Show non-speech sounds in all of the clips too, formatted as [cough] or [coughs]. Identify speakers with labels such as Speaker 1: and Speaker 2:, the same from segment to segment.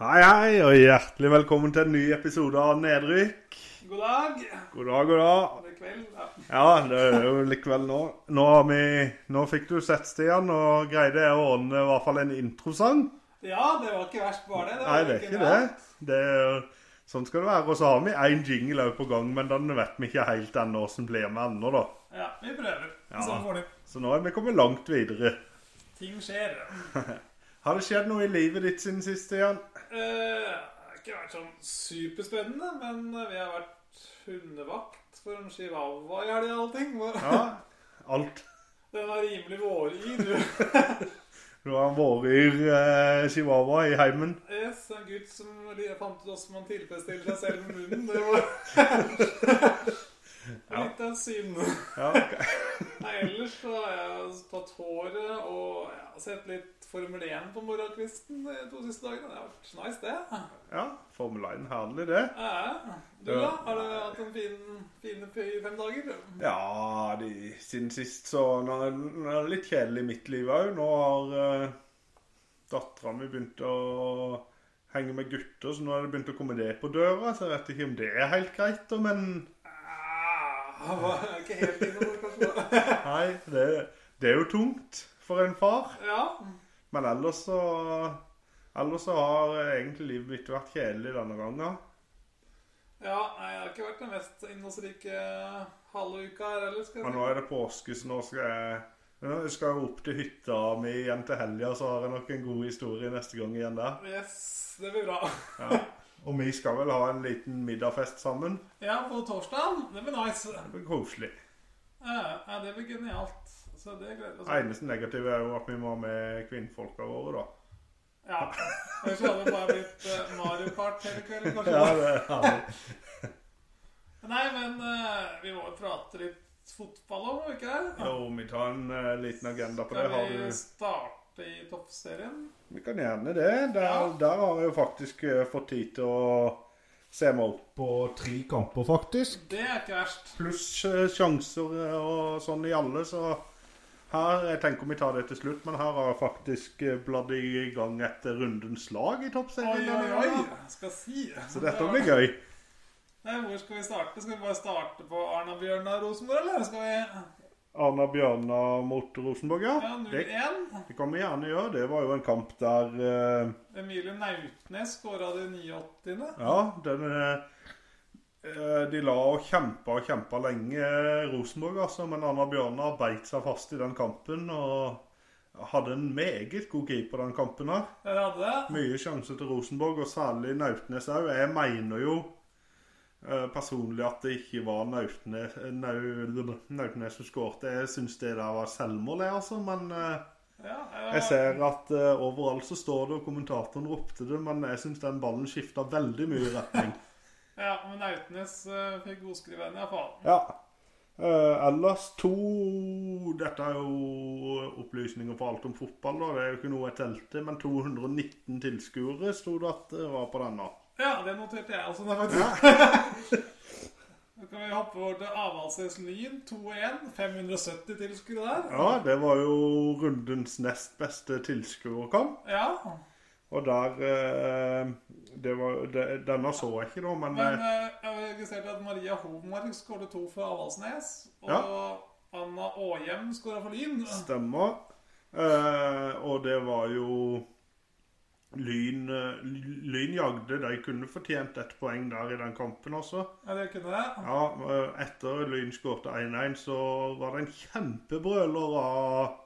Speaker 1: Hei, hei, og hjertelig velkommen til en ny episode av Nedrykk.
Speaker 2: God dag.
Speaker 1: God dag, god dag.
Speaker 2: Det er kveld. Ja.
Speaker 1: Ja, det er jo litt kveld nå. Nå, har vi, nå fikk du sett, Stian, og greide jeg å ordne i hvert fall en introsang.
Speaker 2: ja, det var ikke verst, var det? det
Speaker 1: Nei,
Speaker 2: var
Speaker 1: det er ikke det.
Speaker 2: bra.
Speaker 1: det er, sånn skal det være. Og så har vi én jingle òg på gang, men den vet vi ikke helt ennå hvordan blir med ennå, da.
Speaker 2: Ja, vi prøver.
Speaker 1: Ja.
Speaker 2: Sånn får det.
Speaker 1: Så nå er vi kommet langt videre.
Speaker 2: Ting skjer.
Speaker 1: Har det skjedd noe i livet ditt siden sist, Stian?
Speaker 2: Eh, det har ikke vært sånn superspennende, men eh, vi har vært hundevakt for en chihuahua i helga og allting. hvor-
Speaker 1: Ja. Alt.
Speaker 2: Den var rimelig våryr. du.
Speaker 1: Du har vært eh, chihuahua i heimen.
Speaker 2: Yes, en gutt som li- fant ut hvordan man tilfredsstiller seg selv med munnen. Det var
Speaker 1: Ja.
Speaker 2: litt av synd.
Speaker 1: Ja,
Speaker 2: Nei, ellers så har jeg tatt håret og jeg har sett litt Formel 1 på morgenkvisten de to siste dagene. Det har vært nice, det.
Speaker 1: ja. Formel 1, herlig det.
Speaker 2: Ja. Du, da? Har du hatt en fin, fine p- fem dager?
Speaker 1: Ja, de, siden sist så nå er det- nå er det litt kjedelig i mitt liv òg. Nå har uh, dattera mi begynt å henge med gutter, så nå har det begynt å komme det på døra. Så jeg vet ikke om det er helt greit, da, men
Speaker 2: Ah, var ikke helt innom, kanskje.
Speaker 1: nei, det, det er jo tungt for en far.
Speaker 2: Ja.
Speaker 1: Men ellers så Ellers så har eh, egentlig livet mitt vært kjedelig denne gangen.
Speaker 2: ja. Nei, det har ikke vært den mest innholdsrike halve uka her heller, skal
Speaker 1: Men
Speaker 2: jeg
Speaker 1: nå
Speaker 2: si.
Speaker 1: er det påske, så nå skal jeg nå skal jeg opp til hytta mi igjen til helga, så har jeg nok en god historie neste gang igjen der.
Speaker 2: Yes, det blir bra.
Speaker 1: Ja. Og vi skal vel ha en liten middagfest sammen.
Speaker 2: Ja, på torsdag. Det blir nice.
Speaker 1: Det blir koselig.
Speaker 2: Ja, ja, det blir genialt. Så det gleder vi oss til.
Speaker 1: Eneste negative er jo at vi må ha med kvinnfolka våre, da.
Speaker 2: Ja. Ellers hadde det bare blitt eh, Mario Kart hele kvelden, kanskje.
Speaker 1: Ja, det er herlig.
Speaker 2: Nei, men eh, vi må jo prate litt fotball om, ikke det?
Speaker 1: Jo, vi tar en eh, liten agenda på det.
Speaker 2: Skal
Speaker 1: Har
Speaker 2: vi
Speaker 1: du
Speaker 2: starte i toppserien?
Speaker 1: Vi kan gjerne det. Der,
Speaker 2: Ja.
Speaker 1: der har jeg jo faktisk eh, fått tid til å se meg opp på tre kamper, faktisk.
Speaker 2: Det er ikke verst.
Speaker 1: Pluss eh, sjanser eh, og sånn i alle, så her Jeg tenker vi tar det til slutt, men her har jeg faktisk eh, bladd i gang etter rundens lag i
Speaker 2: Oi,
Speaker 1: toppserien.
Speaker 2: oi,
Speaker 1: denne
Speaker 2: oi!
Speaker 1: gangen.
Speaker 2: Skal si.
Speaker 1: Så dette blir gøy.
Speaker 2: Nei, Hvor skal vi starte? Skal vi bare starte på Arna-Bjørnar Rosenborg, eller? Skal vi
Speaker 1: Arna Bjørnar mot Rosenborg, ja.
Speaker 2: Ja,
Speaker 1: det,
Speaker 2: 0-1.
Speaker 1: det kan vi gjerne gjøre. Det var jo en kamp der eh,
Speaker 2: Emilie Nautnes skåra det 89.
Speaker 1: Ja, den eh, De la og kjempa og kjempa lenge, eh, Rosenborg, altså. Men Arna Bjørnar beit seg fast i den kampen og hadde en meget god keeper den kampen her.
Speaker 2: Der hadde det.
Speaker 1: Mye sjanser til Rosenborg, og særlig Nautnes òg. Jeg mener jo eh, personlig at det ikke var Nautnes, eh, Nau, Nautnes som skårte. Jeg syns det der var selvmål, jeg, altså. Men eh,
Speaker 2: Ja,
Speaker 1: Jeg
Speaker 2: eh,
Speaker 1: ser at eh, overalt så står det, og kommentatoren ropte det, men jeg syns den ballen skifta veldig mye retning.
Speaker 2: ja, men Nautnes eh, fikk godskrive den, iallfall.
Speaker 1: ja. Eh, ellers to Dette er jo opplysninger for alt om fotball, da. Det er jo ikke noe jeg telte, men 219 tilskuere sto det at det var på denne.
Speaker 2: Ja, det noterte jeg også. Da, faktisk. Da kan vi hoppe over til Avaldsnes Lyn 2-1. 570 tilskuere der.
Speaker 1: Ja, det var jo rundens nest beste tilskuerkamp.
Speaker 2: Ja.
Speaker 1: Og der eh, det var, det, Denne så jeg ikke, da, men,
Speaker 2: Men
Speaker 1: eh,
Speaker 2: eh, jeg registrerte at Maria Homark skåret to for Avaldsnes. Og Anna Aahjem skåra for Lyn.
Speaker 1: Stemmer. Eh, og det var jo Lyn, eh, lyn jagde. De kunne fortjent ett poeng der i den kampen også.
Speaker 2: Ja, det kunne det.
Speaker 1: Ja, eh, Etter Lyn skårte 1-1, så var det en kjempebrøler av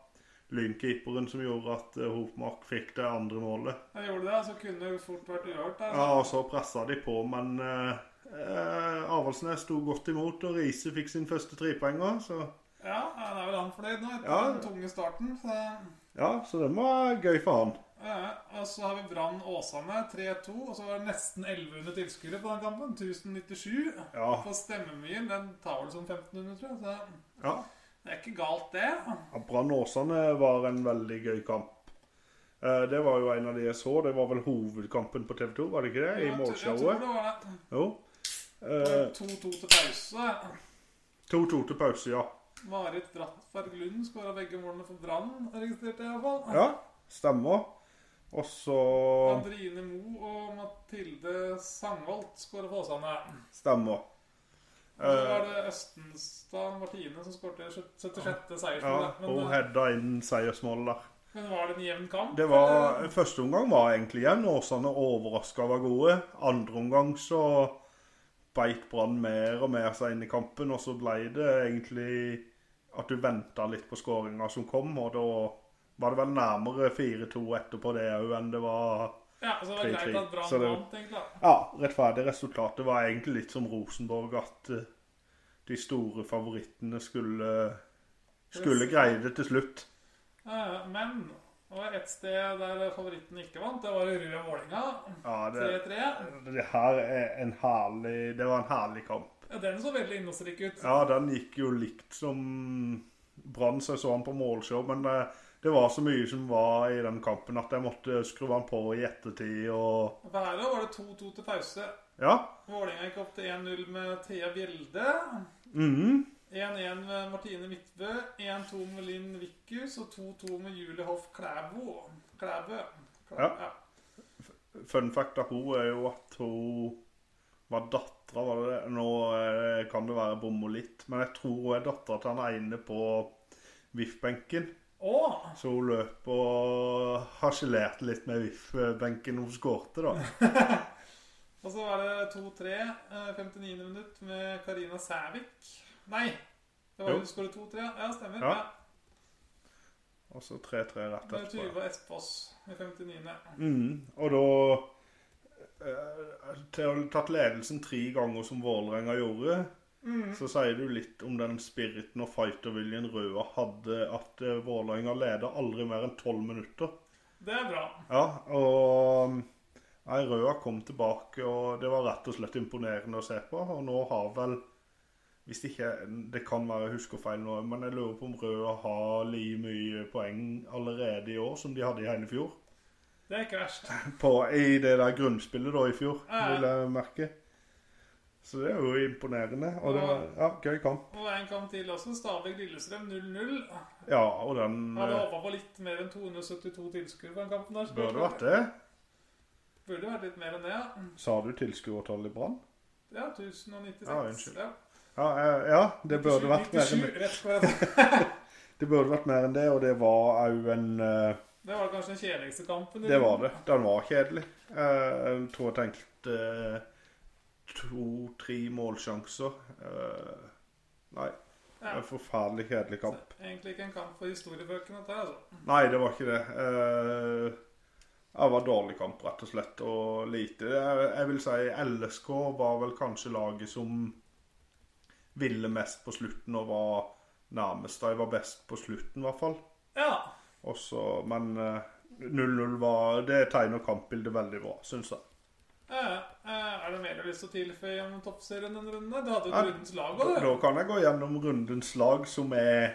Speaker 1: Lynkeeperen som gjorde at eh, Hopmark fikk det andre målet.
Speaker 2: Jeg gjorde det, så kunne det fort vært uhørt. Der.
Speaker 1: Ja, og Så pressa de på, men eh, eh, Avaldsnes sto godt imot, og Riise fikk sin første trepoenger. Så
Speaker 2: Ja, han er vel han fornøyd nå, etter
Speaker 1: Ja.
Speaker 2: den tunge starten. Så,
Speaker 1: ja, så det var gøy for han.
Speaker 2: ja, og så har vi Brann Åsane 3-2. Og så var det nesten 1100 tilskuere på den kampen. 1097.
Speaker 1: Ja,
Speaker 2: På stemmemyen, den tar vel som 1500, tror jeg. Så
Speaker 1: ja.
Speaker 2: det er ikke galt, det.
Speaker 1: Ja, Brann Åsane var en veldig gøy kamp. Eh, Det var jo en av de jeg så. Det var vel hovedkampen på TV 2, var det ikke det? I
Speaker 2: Jeg tror- Jeg
Speaker 1: morgenshowet.
Speaker 2: tror det var det.
Speaker 1: Jo. Eh,
Speaker 2: 2-2 til pause.
Speaker 1: 2-2 til pause, ja.
Speaker 2: Marit Brattberg Lund skåra begge målene for Brann, registrerte jeg iallfall.
Speaker 1: Ja, stemmer. Og så
Speaker 2: Andrine Mo og Mathilde Sangvold skåra for Åsane.
Speaker 1: Eh. Stemmer.
Speaker 2: Og Så var det Østenstad Martine som skårte
Speaker 1: Eh,
Speaker 2: 76.
Speaker 1: Ja,
Speaker 2: seiersmål.
Speaker 1: og
Speaker 2: Men, eh,
Speaker 1: heada inn seiersmålet der.
Speaker 2: men var det en jevn kamp?
Speaker 1: Det var, første omgang var egentlig igjen. Åsane overraska var gode. Andre omgang så beit Brann mer og mer seg inn i kampen, og så ble det egentlig at du venta litt på skåringa som kom, og da var det vel nærmere 4-2 etterpå det òg enn det var
Speaker 2: Ja, så det var
Speaker 1: 3-3.
Speaker 2: greit at Brann
Speaker 1: Så det-
Speaker 2: vant, egentlig. da.
Speaker 1: Ja, rettferdig resultatet var egentlig litt som Rosenborg, at eh, de store favorittene skulle, skulle greie det til slutt.
Speaker 2: Ja, ja, Eh, Men det var ett sted der favoritten ikke vant. Det var i Rød Vålinga.
Speaker 1: Ja, det,
Speaker 2: 3-3.
Speaker 1: det her er en herlig Det var en herlig kamp.
Speaker 2: Ja, Den så veldig innholdsrik ut.
Speaker 1: Ja, den gikk jo likt som Brann, så jeg så han på målshow, men det, det var så mye som var i den kampen at jeg måtte skru han på i ettertid og
Speaker 2: For her var det 2-2 til pause.
Speaker 1: Ja.
Speaker 2: Vålinga gikk opp til 1-0 med Thea Bjelde.
Speaker 1: mhm.
Speaker 2: 1-1 med Martine Midtbø. 1-2 med Linn Vikhus. Og 2-2 med Julie Hoff Klæbo. Klæbø. Klæ-
Speaker 1: Ja. Fun fact av hun er jo at hun var dattera, var det det? Nå eh, kan det være bommer litt, men jeg tror hun er dattera til han ene på VIF-benken.
Speaker 2: Å!
Speaker 1: Så hun løp og harselerte litt med VIF-benken hun skårte, da.
Speaker 2: Og så var det 2-3, eh, 59. minutt, med Karina Sævik. Nei! Det var
Speaker 1: Jo.
Speaker 2: hun som skåret 2-3. Ja, stemmer.
Speaker 1: Ja.
Speaker 2: Ja.
Speaker 1: Og så 3-3 rett
Speaker 2: Med
Speaker 1: etterpå.
Speaker 2: Tuva Espås i 59.
Speaker 1: Mm, og da eh, Til å ha tatt ledelsen tre ganger som Vålerenga gjorde,
Speaker 2: Mm.
Speaker 1: så sier du litt om den spiriten og fighterviljen Røa hadde, at eh, Vålerenga leda aldri mer enn tolv minutter.
Speaker 2: Det er bra.
Speaker 1: Ja, og Nei, Røa kom tilbake, og det var rett og slett imponerende å se på. Og nå har vel Hvis det ikke Det kan være jeg husker feil nå, men jeg lurer på om Røa har like mye poeng allerede i år som de hadde i hele fjor.
Speaker 2: Det er ikke verst.
Speaker 1: på, i det der grunnspillet da i fjor,
Speaker 2: Ja.
Speaker 1: vil jeg merke. Så det er jo imponerende. Og det var ja, gøy kamp.
Speaker 2: Og en kamp til også. Stabæk-Lillestrøm 0-0.
Speaker 1: Ja, og den
Speaker 2: Hadde
Speaker 1: eh,
Speaker 2: håpa på litt mer enn 272 tilskuere på den kampen. der. så
Speaker 1: bør det vært det.
Speaker 2: Burde vært litt mer enn det, ja.
Speaker 1: Sa du tilskuertallet i Brann?
Speaker 2: Ja, 1096.
Speaker 1: Ja, unnskyld.
Speaker 2: Ja.
Speaker 1: Ja, eh, ja, det burde vært mer enn det.
Speaker 2: 97, rett skal være sagt.
Speaker 1: Det burde vært mer enn det, og det var òg en eh,
Speaker 2: Det var kanskje den kjedeligste kampen. i
Speaker 1: Det var
Speaker 2: runden.
Speaker 1: det. Den var kjedelig. Eh, Jeg tror jeg tenkte eh, to-tre målsjanser. Eh, Nei.
Speaker 2: Ja.
Speaker 1: En forferdelig kjedelig kamp.
Speaker 2: Så Egentlig ikke en kamp for historiebøkene. dette her, altså.
Speaker 1: Nei, det var ikke det. Eh, Det var dårlig kamp, rett og slett, og lite. Jeg jeg vil si LSK var vel kanskje laget som ville mest på slutten og var nærmest. De var best på slutten, i hvert fall.
Speaker 2: Ja.
Speaker 1: Også, men eh, 0-0 var Det tegner kampbildet veldig bra, syns jeg.
Speaker 2: Eh, eh, Er det mer du har lyst til å tilføye om toppserien denne runden? der? Du hadde
Speaker 1: Ja.
Speaker 2: jo rundens lag
Speaker 1: Da
Speaker 2: òg, du.
Speaker 1: da kan jeg gå gjennom rundens lag, som er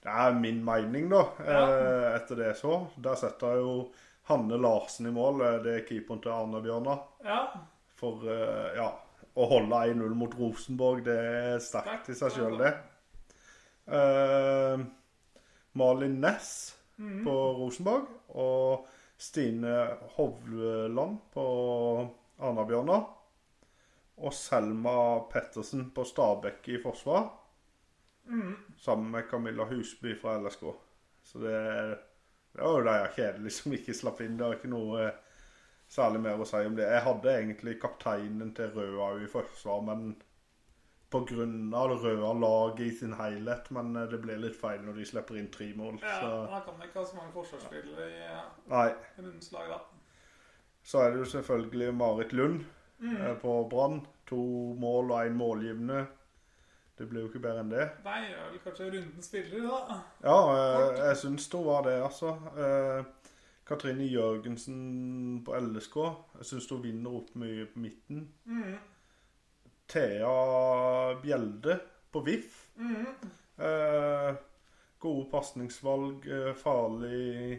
Speaker 1: Det er min mening, da. eh, Etter det jeg så. Der setter jeg jo Hanne Larsen i mål. eh, Det er keeperen til Arna-Bjørnar.
Speaker 2: Ja.
Speaker 1: For eh, ja, å holde 1-0 mot Rosenborg, det er
Speaker 2: Takk.
Speaker 1: sterkt i seg sjøl, det. Eh, Malin Næss på Rosenborg og Stine Hovland på Arna-Bjørnar. Og Selma Pettersen på Stabekk i forsvar. Sammen med Camilla Husby fra LSK. Så det, det var jo de kjedelige som ikke slapp inn. Det var ikke noe eh, særlig mer å si om det. Jeg hadde egentlig kapteinen til Røa i forsvar, men på grunn av Røa-laget i sin helhet. Men eh, det blir litt feil når de slipper inn tre mål.
Speaker 2: ja.
Speaker 1: Så,
Speaker 2: Da kan man ikke ha så mange forsvarsspillere i eh,
Speaker 1: nei.
Speaker 2: rundens lag, da.
Speaker 1: Så er det jo selvfølgelig Marit Lund eh, på Brann. To mål og én målgivende. Det blir jo ikke bedre enn det.
Speaker 2: Nei, jeg er vel kanskje rundens spillere, da.
Speaker 1: Ja, eh, jeg syns hun var det, altså. Eh, Katrine Jørgensen på LSK. Jeg syns hun vinner opp mye på midten.
Speaker 2: Mm.
Speaker 1: Thea Bjelde på VIF.
Speaker 2: Mm.
Speaker 1: Eh, gode pasningsvalg, eh, farlig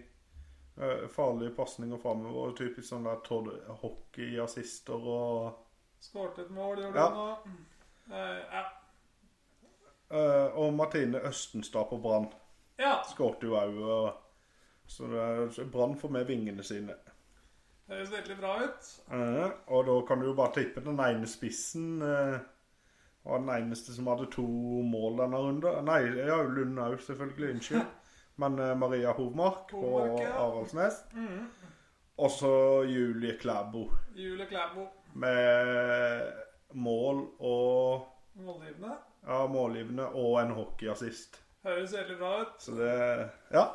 Speaker 1: eh, Farlige pasninger framover. Typisk sånn der Todd hockeyassister og
Speaker 2: Skåret et mål, gjorde
Speaker 1: Ja.
Speaker 2: det nå. Eh, ja.
Speaker 1: eh, Og Martine Østenstad på Brann
Speaker 2: ja.
Speaker 1: skårte jo òg. Så det er- så Brann får med vingene sine.
Speaker 2: Det høres veldig bra ut.
Speaker 1: Eh, og da kan du jo bare tippe den ene spissen eh, var den eneste som hadde to mål denne runden. Nei, ja, Lund òg, selvfølgelig. Unnskyld. Men eh, Maria Hovmark og
Speaker 2: Hovmark, ja.
Speaker 1: Avaldsnes. Og så Julie Klæbo
Speaker 2: Jule Klæbo,
Speaker 1: med mål og
Speaker 2: målgivende.
Speaker 1: ja, målgivende og en hockeyassist.
Speaker 2: Høres veldig bra ut.
Speaker 1: Så det Ja.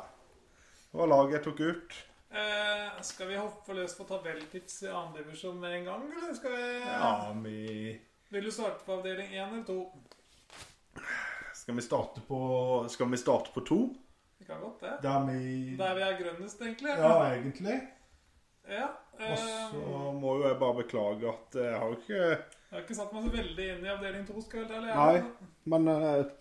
Speaker 1: Det var laget jeg tok ut.
Speaker 2: Eh, skal vi hoppe løs på tabelltips i annen divisjon med en gang, eller skal vi
Speaker 1: Ja, vi
Speaker 2: Vil du starte på avdeling én eller to?
Speaker 1: Skal vi starte på Skal vi starte på to?
Speaker 2: Vi kan godt det.
Speaker 1: Der vi
Speaker 2: Der vi er grønnest, egentlig.
Speaker 1: Mm. Ja, egentlig.
Speaker 2: ja
Speaker 1: Og
Speaker 2: eh,
Speaker 1: så må jo jeg bare beklage at jeg har jo ikke
Speaker 2: Jeg har ikke satt meg så veldig inn i avdeling to, skal jeg være helt ærlig.
Speaker 1: Nei. Men eh, jeg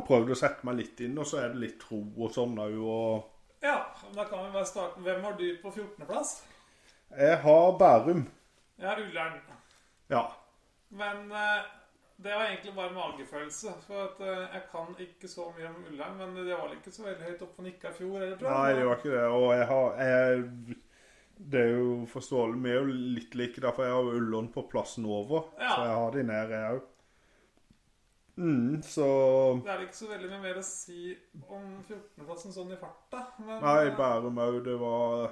Speaker 1: har prøvd å sette meg litt inn, og så er det litt tro og sånn òg, og
Speaker 2: Ja, men da kan vi bare starte. Hvem har du på 14.-plass?
Speaker 1: Jeg har Bærum.
Speaker 2: Jeg har Ullern.
Speaker 1: Ja.
Speaker 2: Men eh, det var egentlig bare magefølelse. For at, eh, jeg kan ikke så mye om Ullern, men det var vel ikke så veldig høyt oppe på nikka i fjor heller, tror
Speaker 1: Nei, det var ikke det. Og jeg har jeg, Det er jo forståelig. Vi er jo litt like, derfor jeg har jo Ullern på plassen over.
Speaker 2: Ja.
Speaker 1: Så jeg har de ned, jeg òg. Mm, så
Speaker 2: Det er vel ikke så veldig mye mer å si om 14.-plassen sånn i farta. Men
Speaker 1: Nei,
Speaker 2: eh,
Speaker 1: Bærum òg. Det var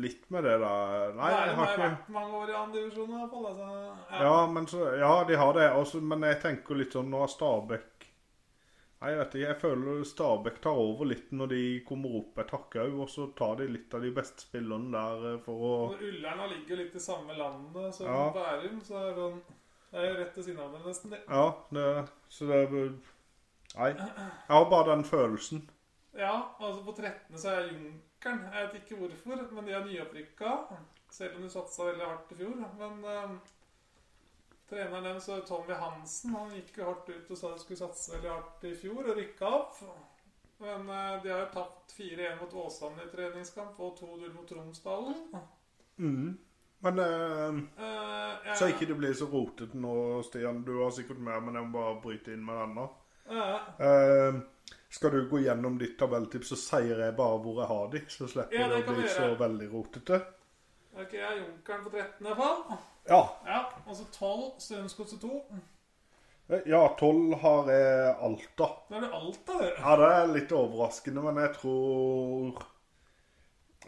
Speaker 1: litt med det der Nei, jeg har
Speaker 2: Bærum har jo
Speaker 1: ikke
Speaker 2: vært mange år i andre divisjon i hvert fall. Altså, ja.
Speaker 1: Ja, men så, ja de har det. Også, men jeg tenker litt sånn nå har Stabæk Nei, jeg vet ikke. Jeg føler Stabæk tar over litt når de kommer opp et hakk òg, og så tar de litt av de beste spillerne der eh, for å
Speaker 2: Og Ullern da ligger jo litt i samme landet som
Speaker 1: Ja.
Speaker 2: Bærum, så er det sånn Det er jo rett ved siden av dem, nesten. det.
Speaker 1: Ja, det, så det Nei. Jeg har bare den følelsen.
Speaker 2: Ja, altså på 13. så er Junkeren. Jeg vet ikke hvorfor, men de er nyopprykka. Selv om de satsa veldig hardt i fjor. Men eh, treneren deres, Tommy Hansen, han gikk jo hardt ut og sa de skulle satse veldig hardt i fjor, og rykka opp. Men eh, de har jo tapt 4-1 mot Åsane i treningskamp og 2-0 mot Tromsdalen.
Speaker 1: Mm. Men eh,
Speaker 2: Eh, jeg-
Speaker 1: så ikke det blir så rotete nå, Stian. Du har sikkert mer, men jeg må bare bryte inn med denne.
Speaker 2: eh,
Speaker 1: Eh, skal du gå gjennom ditt tabelltips, så sier jeg bare hvor jeg har de, så slipper
Speaker 2: Ja,
Speaker 1: det
Speaker 2: det
Speaker 1: å
Speaker 2: kan
Speaker 1: bli
Speaker 2: vi
Speaker 1: så
Speaker 2: gjøre.
Speaker 1: veldig rotete.
Speaker 2: Ok, jeg er Junkeren på 13. i hvert fall.
Speaker 1: Ja.
Speaker 2: Ja, og så 12, Strømsgodset 2.
Speaker 1: Ja, tolv har jeg Alta.
Speaker 2: Da er det Alta, det.
Speaker 1: Ja, det er litt overraskende, men jeg tror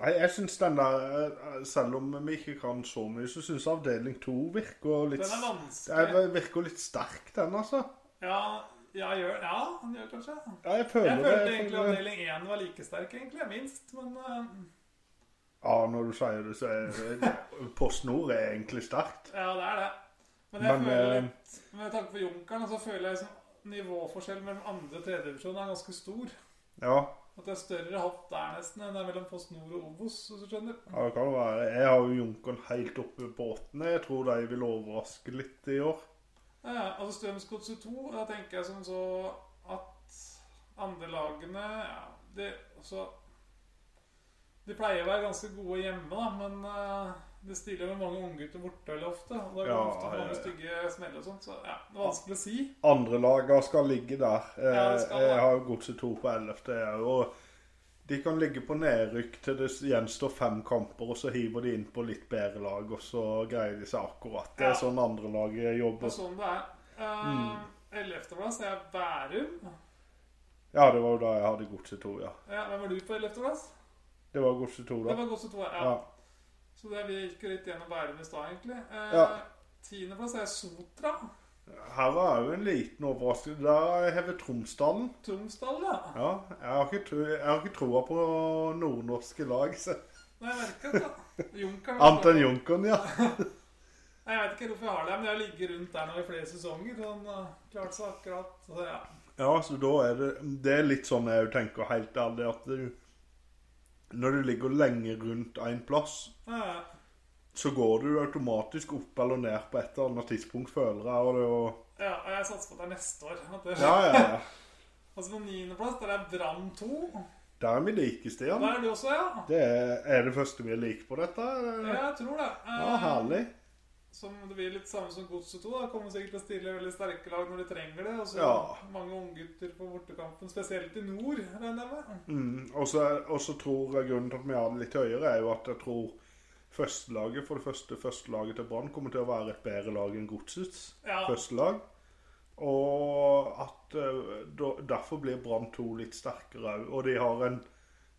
Speaker 1: Nei, jeg syns den der eh, Selv om vi ikke kan så mye, så syns jeg avdeling to virker litt
Speaker 2: Den er vanskelig.
Speaker 1: Jeg virker litt sterk, den, altså.
Speaker 2: Ja, ja, gjør, ja han gjør kanskje.
Speaker 1: Ja, jeg føler
Speaker 2: Jeg følte
Speaker 1: det.
Speaker 2: egentlig
Speaker 1: for-
Speaker 2: avdeling 1 var like sterk, egentlig. Minst, men eh,
Speaker 1: Ja, når du sier det, så er det Post Nord er egentlig sterkt.
Speaker 2: Ja, det er det. Men jeg
Speaker 1: Men,
Speaker 2: føler
Speaker 1: eh,
Speaker 2: litt Med tanke på Junkeren, så føler jeg liksom nivåforskjellen mellom andre og tredje divisjon er ganske stor.
Speaker 1: Ja.
Speaker 2: At det er større hopp der nesten enn det er mellom Post Nord og Obos, hvis du skjønner.
Speaker 1: Ja, det kan jo være. Jeg har jo Junkeren helt oppe på åttende. Jeg tror de vil overraske litt i år.
Speaker 2: Ja, ja, altså Strømsgodset 2, da tenker jeg som så at andre lagene ja, de, altså, de pleier å være ganske gode hjemme, da, men eh, de stiller med mange unggutter borte veldig ofte. Og da går det
Speaker 1: Ja,
Speaker 2: ofte
Speaker 1: ja,
Speaker 2: mange
Speaker 1: ja.
Speaker 2: stygge smeller og sånt, så ja, det er vanskelig å si.
Speaker 1: Andre laga skal ligge der. Eh,
Speaker 2: Ja, det skal det.
Speaker 1: jeg har jo Godset 2 på ellevte. jeg er jo- Og de kan ligge på nedrykk til det gjenstår fem kamper, og så hiver de inn på litt bedre lag, og så greier de seg akkurat. Det er
Speaker 2: Ja.
Speaker 1: sånn andre laget
Speaker 2: Det
Speaker 1: jobber.
Speaker 2: er sånn det er. Uh, 11.-plass er Bærum.
Speaker 1: Ja, det var jo da jeg hadde Godset 2, ja.
Speaker 2: Ja, hvem var du på 11.-plass?
Speaker 1: Det var Godset 2,
Speaker 2: Det
Speaker 1: da.
Speaker 2: var Godset 2, ja.
Speaker 1: Ja.
Speaker 2: Så det, vi gikk jo litt gjennom Bærum i stad, egentlig. Eh,
Speaker 1: Ja.
Speaker 2: 10.-plass er Sotra.
Speaker 1: Her var jo en liten overraskelse. Der har jeg hevet Tromsdalen.
Speaker 2: Tromsdal, da.
Speaker 1: Ja, jeg har ikke, tro- jeg har ikke troa på nordnorske lag. så...
Speaker 2: Nei, jeg vet ikke. altså. Junkeren
Speaker 1: Annet enn Junkeren, ja.
Speaker 2: Nei, Jeg vet ikke hvorfor jeg har det, men jeg har ligget rundt der nå i flere sesonger. Sånn, uh, klart så akkurat. Så ja.
Speaker 1: Ja, så da er det Det er litt sånn jeg tenker helt ærlig at du Når du ligger lenge rundt en plass,
Speaker 2: Ja, ja.
Speaker 1: så går du automatisk opp eller ned på et eller annet tidspunkt, føler jeg. Og det er jo
Speaker 2: ja, og jeg satser på at det er neste år. At det,
Speaker 1: Ja, ja, ja.
Speaker 2: Altså På niendeplass der er Brann 2.
Speaker 1: Der er vi like, Stian.
Speaker 2: Der er du også, ja?
Speaker 1: Det er, er det første vi liker på dette.
Speaker 2: Ja, Jeg tror det. Eh,
Speaker 1: Ja, herlig.
Speaker 2: Som det blir litt samme som Godset 2. da. Kommer sikkert til å stille veldig sterke lag når de trenger det. Og så
Speaker 1: Ja.
Speaker 2: mange unggutter på bortekampen, spesielt i nord, regner jeg med.
Speaker 1: Mm, og så og så tror jeg grunnen til at vi har det litt høyere, er jo at jeg tror førstelaget for det første førstelaget til Brann kommer til å være et bedre lag enn Godsets
Speaker 2: Ja,
Speaker 1: førstelag. Og at eh, da, derfor blir Brann 2 litt sterkere òg. Og de har, en,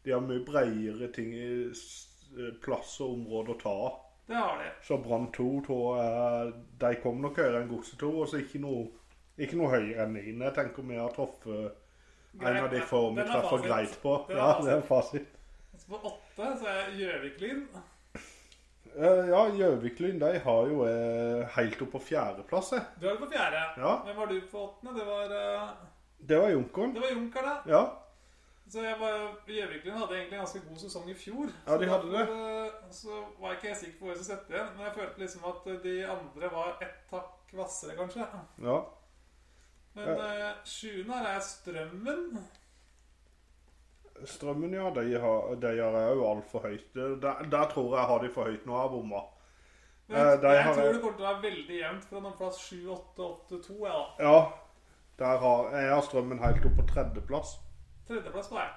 Speaker 1: de har mye bredere ting i s- eh, plass og område å ta av.
Speaker 2: det har de.
Speaker 1: Så Brann 2 tror jeg de kom nok høyere enn Godset 2. Og så ikke noe, ikke noe høyere enn 9. Jeg tenker vi har truffet en av de få vi
Speaker 2: Den er
Speaker 1: treffer
Speaker 2: fasit.
Speaker 1: greit på.
Speaker 2: Den er
Speaker 1: Ja,
Speaker 2: fasit.
Speaker 1: det er fasit.
Speaker 2: Så Altså, på åtte så er Gjøvik-Lyn.
Speaker 1: Eh, Ja, Gjøvik-Lyn de har jo eh, helt opp på fjerdeplass, eh. jeg.
Speaker 2: Du er på fjerde.
Speaker 1: Ja,
Speaker 2: Hvem var du på åttende? Det var, eh,
Speaker 1: det var Junkeren.
Speaker 2: det var Junker, da.
Speaker 1: Ja.
Speaker 2: Så jeg var, Gjøviklund hadde egentlig en ganske god sesong i fjor.
Speaker 1: Ja, de
Speaker 2: Så
Speaker 1: hadde det.
Speaker 2: derfor, eh, Så var jeg ikke helt sikker på hvor jeg skulle sette igjen. Men jeg følte liksom at eh, de andre var ett hakk hvassere, kanskje.
Speaker 1: ja.
Speaker 2: Men eh, sjuende her er Strømmen.
Speaker 1: Strømmen, ja. De har, de har jeg òg altfor høyt. Der, der tror jeg jeg har de for høyt nå, jeg har bomma.
Speaker 2: Men
Speaker 1: Eh,
Speaker 2: jeg
Speaker 1: de har-
Speaker 2: tror det kommer til å være veldig jevnt fra noen plass 7, 8, 8, 2. Ja, da.
Speaker 1: Ja. Der har, jeg har Strømmen helt opp på tredjeplass.
Speaker 2: Tredjeplass på deg.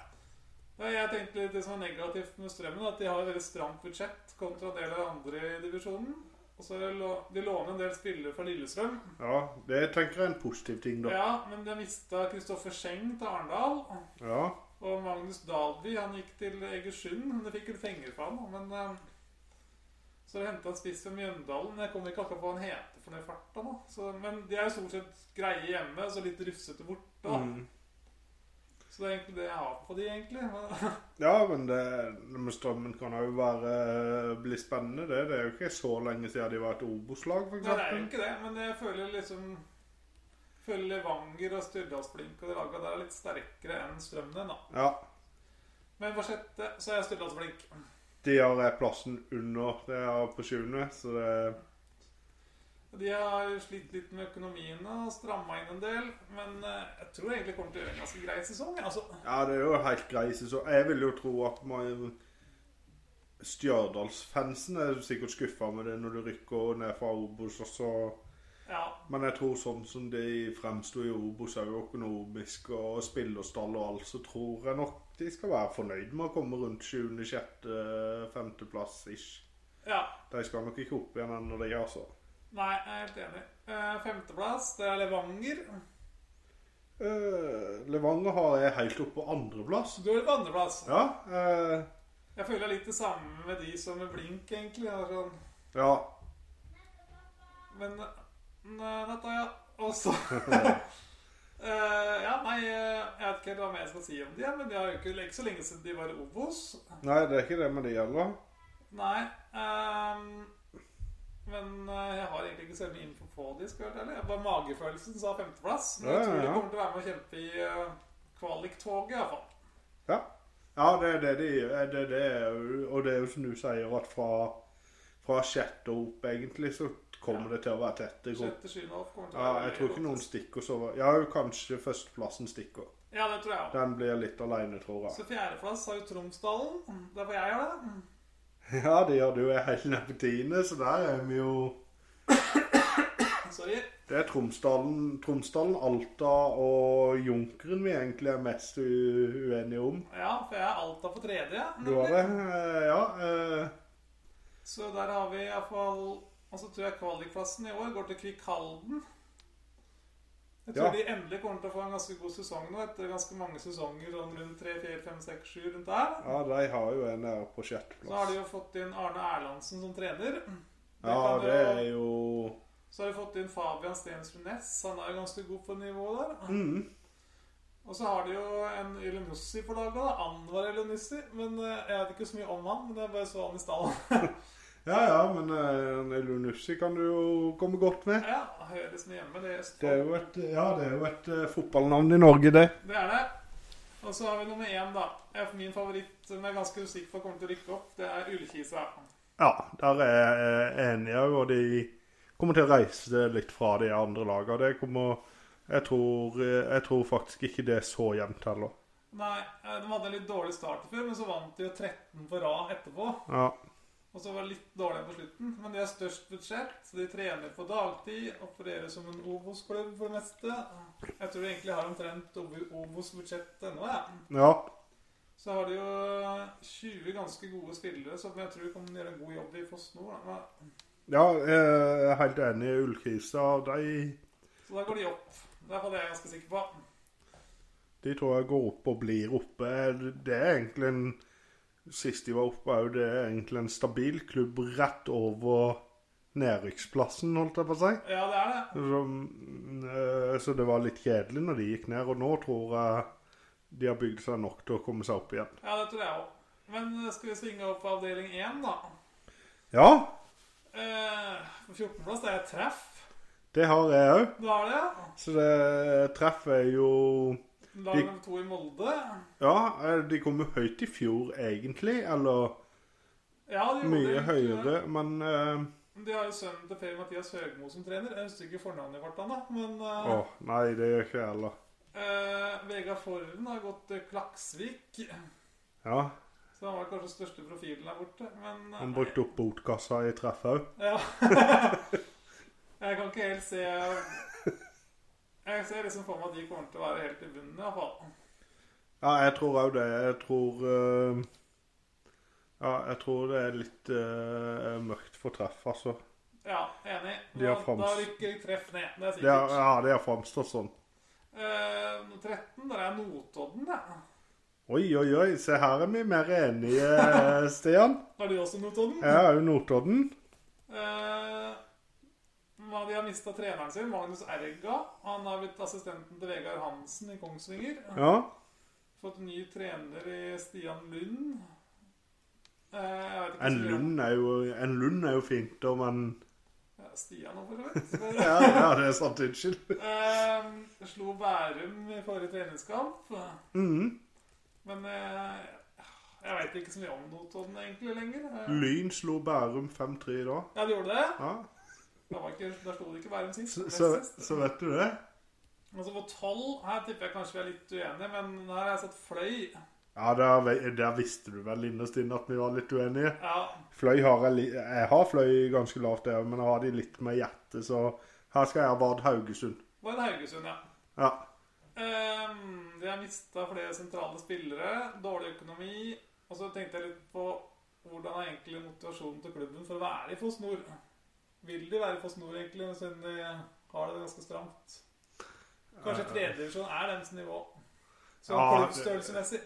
Speaker 2: Ja, Jeg tenkte litt Det som er negativt med Strømmen, at de har et veldig stramt budsjett kontra en del av de andre i divisjonen. Og så lå- De låner en del spillere fra Lillestrøm.
Speaker 1: Ja, det tenker jeg er en positiv ting, da.
Speaker 2: Ja, men de mista Kristoffer Scheng til Arendal.
Speaker 1: Ja.
Speaker 2: Og Magnus Dalby han gikk til Egersund. men Det fikk vel penger for han, men eh, Så de henta en spiss fra Mjøndalen. men Jeg kommer ikke akkurat på hva han heter for noe i farta nå. Så, men de er jo stort sett greie hjemme, så litt rufsete borte. da.
Speaker 1: Mm.
Speaker 2: Så det er egentlig det jeg har på de, egentlig. Men, [laughs]
Speaker 1: Ja, men det, men Strømmen kan òg være- eh, bli spennende, det. Det er jo ikke så lenge siden de var et Obos-lag, for [laughs]
Speaker 2: Nei, det er jo
Speaker 1: eksempel.
Speaker 2: ikke det, men jeg føler liksom Føler Levanger og Stjørdalsblink og de laga der er litt sterkere enn Strømmen. da.
Speaker 1: Ja.
Speaker 2: Men på sjette så er jeg Stjørdalsblink.
Speaker 1: De har eh, plassen under det er på sjuende, så det
Speaker 2: De har slitt litt med økonomien og stramma inn en del. Men eh, jeg tror egentlig det kommer til å gjøre en ganske grei sesong. jeg, Altså,
Speaker 1: Ja, det er jo helt grei sesong. Jeg vil jo tro at man Stjørdalsfansen er sikkert skuffa med det når du rykker ned fra Obos. og så-
Speaker 2: ja,
Speaker 1: Men jeg tror sånn som de fremsto i Obos, òg økonomisk og spillerstall og alt, så tror jeg nok de skal være fornøyd med å komme rundt 7., 6., 5. plass ish.
Speaker 2: ja.
Speaker 1: De skal nok ikke opp igjen ennå, de, altså.
Speaker 2: Nei, jeg er helt enig. Eh, Femteplass, det er Levanger.
Speaker 1: Eh, Levanger har jeg helt oppe på andreplass.
Speaker 2: Så du er på andreplass.
Speaker 1: Ja. eh,
Speaker 2: Jeg føler litt det samme med de som med blink, egentlig. Det er sånn.
Speaker 1: ja.
Speaker 2: Men eh, nei, dette, ja. Og så [laughs] Eh, Ja, nei, eh, jeg vet ikke helt hva mer jeg skal si om de, men det er jo ikke det er ikke så lenge siden de var i Obos.
Speaker 1: Nei, det er ikke det med de heller.
Speaker 2: Nei. ehm, men eh, jeg har egentlig ikke så mye info på de, skal jeg være helt ærlig. Jeg Bare magefølelsen sa femteplass. Men
Speaker 1: Ja,
Speaker 2: jeg tror
Speaker 1: ja,
Speaker 2: de
Speaker 1: ja.
Speaker 2: kommer til å være med å kjempe i eh, kvaliktoget, iallfall.
Speaker 1: Ja. ja, det er det de gjør. Det, er det, jo- og det er jo som du sier, at fra, fra sjette og opp, egentlig, så kommer det til å være tett. Det går.
Speaker 2: Sjette, sjuende opp kommer til å
Speaker 1: Ja,
Speaker 2: være
Speaker 1: jeg
Speaker 2: veldig
Speaker 1: tror
Speaker 2: godt.
Speaker 1: ikke noen stikker så Ja, jo, kanskje førsteplassen stikker.
Speaker 2: Ja, det tror jeg òg.
Speaker 1: Den blir litt alene, tror jeg.
Speaker 2: Så fjerdeplass har jo Tromsdalen. Der får jeg gjøre det.
Speaker 1: [laughs]
Speaker 2: Mm.
Speaker 1: Ja, det gjør du jo helt ned på tiende, så der er vi jo
Speaker 2: Sorry.
Speaker 1: Det er Tromsdalen, Tromsdalen Alta og Junkeren vi egentlig er mest u- uenige om.
Speaker 2: Ja, for jeg er Alta på tredje.
Speaker 1: Du har det? Eh, Ja. eh,
Speaker 2: Så der har vi iallfall Og så tror jeg kvalikplassen i år går til Kvikkhalden. Jeg tror
Speaker 1: Ja.
Speaker 2: de endelig kommer til å få en ganske god sesong nå etter ganske mange sesonger sånn rundt 3, 4, 5, 6, 7 rundt der.
Speaker 1: Ja, de har jo en nede på sjetteplass.
Speaker 2: Så har de jo fått inn Arne Erlandsen som trener. Det
Speaker 1: Ja,
Speaker 2: kan
Speaker 1: det er
Speaker 2: jo-
Speaker 1: jo
Speaker 2: Så har de fått inn Fabian Stensrud Næss. Han er jo ganske god på nivået der.
Speaker 1: Mhm.
Speaker 2: Og så har de jo en Elunussi på laget. da, Anwar Elunussi. Men eh, jeg vet ikke så mye om han, men jeg bare så han i stallen. [laughs]
Speaker 1: Ja, ja, men uh, Lunussi kan du jo komme godt med.
Speaker 2: ja, høres mye hjemme. Det er
Speaker 1: Det er jo et, ja, det er jo et eh, fotballnavn i Norge, det.
Speaker 2: Det er det. Og så har vi nummer én, da. Jeg- Min favoritt, som jeg er ganske usikker på kommer til å rykke opp, det er Ullkisa.
Speaker 1: Ja, der er jeg enig òg, og de kommer til å reise det litt fra de andre lagene. Det kommer jeg tror, eh, jeg tror faktisk ikke det er så jevnt heller.
Speaker 2: Nei, eh, de hadde en litt dårlig start før, men så vant de jo 13 på rad etterpå.
Speaker 1: Ja.
Speaker 2: Og så var det litt dårlig på slutten, men de har størst budsjett, så de trener på dagtid, opererer som en Obos-klubb for det meste. Jeg tror de egentlig har omtrent Ob- Obos-budsjett ennå, jeg.
Speaker 1: Ja.
Speaker 2: Så har de jo 20 ganske gode spillere som jeg tror kan gjøre en god jobb i Foss nå. da.
Speaker 1: Ja, jeg er helt enig i Ullkisa. De,
Speaker 2: Så da går de opp. Det er i hvert fall det jeg er ganske sikker på.
Speaker 1: de tror jeg går opp og blir oppe. Det er egentlig en Sist de var oppe òg, det er egentlig en stabil klubb rett over nedrykksplassen, holdt jeg på å si.
Speaker 2: Ja, det er det.
Speaker 1: Så, eh, så det var litt kjedelig når de gikk ned, og nå tror jeg de har bygd seg nok til å komme seg opp igjen.
Speaker 2: Ja, det tror jeg òg. Men eh, skal vi svinge opp på avdeling 1, da?
Speaker 1: Ja,
Speaker 2: Eh, På 14.-plass det er treff.
Speaker 1: det har jeg òg.
Speaker 2: Du har det? ja.
Speaker 1: Så det treffet er jo
Speaker 2: Lag nummer to i Molde.
Speaker 1: Ja, eh, de kom jo høyt i fjor, egentlig. Eller
Speaker 2: Ja, de gjorde
Speaker 1: mye
Speaker 2: det.
Speaker 1: høyere, men eh,
Speaker 2: De har jo sønnen til Per-Mathias Høgmo som trener. Jeg husker ikke fornavnet i farta, da. Men
Speaker 1: Å,
Speaker 2: eh,
Speaker 1: nei, det gjør ikke jeg heller.
Speaker 2: eh, Vegard Forhen har gått til Klaksvik.
Speaker 1: Ja,
Speaker 2: Så han var kanskje største profilen der borte. Men eh,
Speaker 1: han brukte opp botkassa i treffet òg.
Speaker 2: [laughs] Ja. jeg kan ikke helt se Jeg ser liksom for meg at de kommer til å være helt i bunnen, iallfall.
Speaker 1: Ja, jeg tror òg det. Jeg tror eh, Ja, jeg tror det er litt eh, mørkt for treff, altså.
Speaker 2: Ja, enig.
Speaker 1: De har
Speaker 2: Da-
Speaker 1: frams-
Speaker 2: Da rykker treff ned. Det er
Speaker 1: Det er,
Speaker 2: sikkert.
Speaker 1: ja, det har framstått sånn.
Speaker 2: Eh, 13, der er Notodden, da.
Speaker 1: Oi, oi, oi, se her er vi mer enige, eh, Stian.
Speaker 2: Har du også Notodden?
Speaker 1: Jeg er jo Notodden.
Speaker 2: Eh, men de har mista treneren sin, Magnus Erga. Han har blitt assistenten til Vegard Hansen i Kongsvinger.
Speaker 1: Ja.
Speaker 2: Fått ny trener i Stian Lund. Eh, jeg vet ikke
Speaker 1: En
Speaker 2: så mye om-
Speaker 1: Lund er jo, en Lund er jo fint, da, men
Speaker 2: Ja, Stian, for så vidt.
Speaker 1: ja, ja, det er sant. Unnskyld.
Speaker 2: Eh, slo Bærum i forrige treningskamp.
Speaker 1: Mhm.
Speaker 2: Men eh, jeg veit ikke så mye om Notodden egentlig lenger. Eh,
Speaker 1: Lyn slo Bærum 5-3 i dag.
Speaker 2: ja, de gjorde det.
Speaker 1: Ja.
Speaker 2: Da, var ikke, da slo de ikke Bærum sist.
Speaker 1: Så,
Speaker 2: nest
Speaker 1: så,
Speaker 2: sist.
Speaker 1: så vet du det.
Speaker 2: Og så på tolv Her tipper jeg kanskje vi er litt uenige, men her har jeg satt Fløy.
Speaker 1: Ja, der, ve- der visste du vel innerst inne at vi var litt uenige.
Speaker 2: Ja,
Speaker 1: Fløy har jeg, li- jeg har fløy ganske lavt, jeg, men jeg har de litt med hjertet, så her skal jeg ha Vard Haugesund.
Speaker 2: var det Haugesund, ja.
Speaker 1: Ja.
Speaker 2: Eh, de har mista flere sentrale spillere, dårlig økonomi. Og så tenkte jeg litt på hvordan er egentlig motivasjonen til klubben for å være i Foss Nord? Vil de være i Foss Nord, egentlig, siden de har det ganske stramt? Kanskje tredjedivisjon er deres nivå. Sånn
Speaker 1: Eh. Ja, det-
Speaker 2: klubbstørrelsesmessig.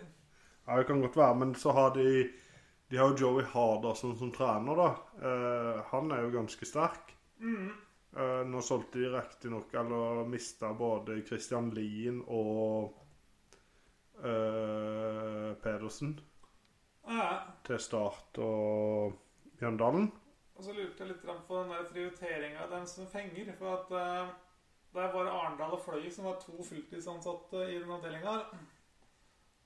Speaker 1: Ja, det kan godt være, men så har de De har jo Joey Harderson som trener, da. Eh, han er jo ganske sterk.
Speaker 2: Mm.
Speaker 1: Eh, nå solgte de riktignok, eller mista både Christian Lien og eh, Pedersen
Speaker 2: Ja.
Speaker 1: til Start og Mjøndalen.
Speaker 2: Og så lurte jeg litt grann på den der prioriteringa av dem som fenger. For at eh, det er bare Arendal og Fløy som har to fulltidsansatte i den avdelinga her.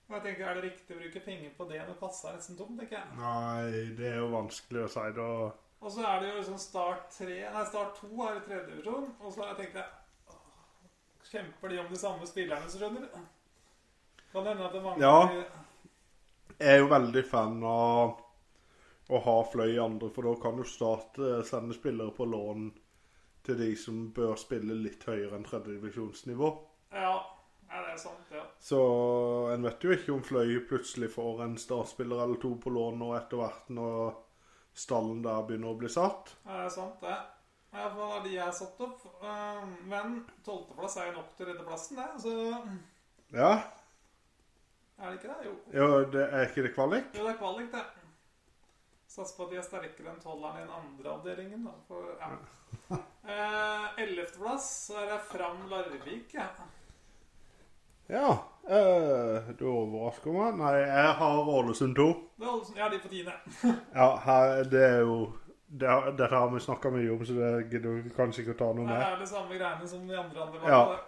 Speaker 2: Og jeg tenker, er det riktig å bruke penger på det når kassa er nesten tom, tenker jeg.
Speaker 1: Nei, det er jo vanskelig å si. Da
Speaker 2: Og så er det jo liksom start tre Nei, start to er i tredje divisjon. Og så tenkte jeg åh, Kjemper de om de samme spillerne, så skjønner du? Kan hende at det mangler
Speaker 1: Ja. Jeg er jo veldig fan av å ha fløy i andre, for da kan jo Start eh, sende spillere på lån til de som bør spille litt høyere enn tredjedivisjonsnivå.
Speaker 2: Ja. ja, det er sant, ja.
Speaker 1: Så en vet jo ikke om Fløy plutselig får en startspiller eller to på lån nå etter hvert når stallen der begynner å bli satt.
Speaker 2: Ja, det er sant, det. I hvert fall er de jeg har satt opp. Eh, Men tolvteplass er jo nok til å redde plassen, det. Så er
Speaker 1: Ja,
Speaker 2: det ikke det? Jo.
Speaker 1: ja det er ikke det kvalik?
Speaker 2: Jo, det er kvalik, det. Satser på at de er sterkere enn tolveren i den andre avdelingen, da. For, ja. Eh, Ellevteplass er jeg Fram Larvik, ja.
Speaker 1: Ja, eh, du overrasker meg. Nei, jeg har Ålesund 2.
Speaker 2: Det er Ålesund. Ja, de på tiende.
Speaker 1: Ja, her, det er jo det, har- Dette har vi snakka mye om, så det gidder vi kanskje ikke å ta noe
Speaker 2: Det
Speaker 1: med.
Speaker 2: er det samme greiene som de andre andre
Speaker 1: Ja.
Speaker 2: lagene.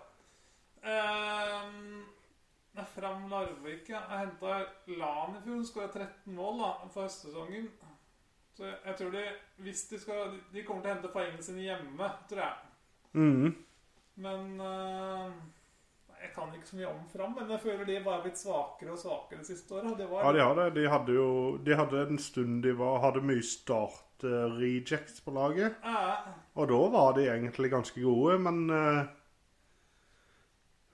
Speaker 2: Ehm, Fram Larvik ja. Jeg henta Lan i fjor. Hun skåra 13 mål da, for høstsesongen. Så jeg tror de hvis de, skal, de kommer til å hente poengene sine hjemme, tror jeg.
Speaker 1: Mhm.
Speaker 2: Men uh, Jeg kan ikke så mye om Fram, men jeg føler de bare har blitt svakere og svakere de siste åra.
Speaker 1: Ja,
Speaker 2: Det var
Speaker 1: de har det. De hadde jo De hadde en stund de var, hadde mye start-rejects på laget.
Speaker 2: Eh,
Speaker 1: Og da var de egentlig ganske gode, men eh,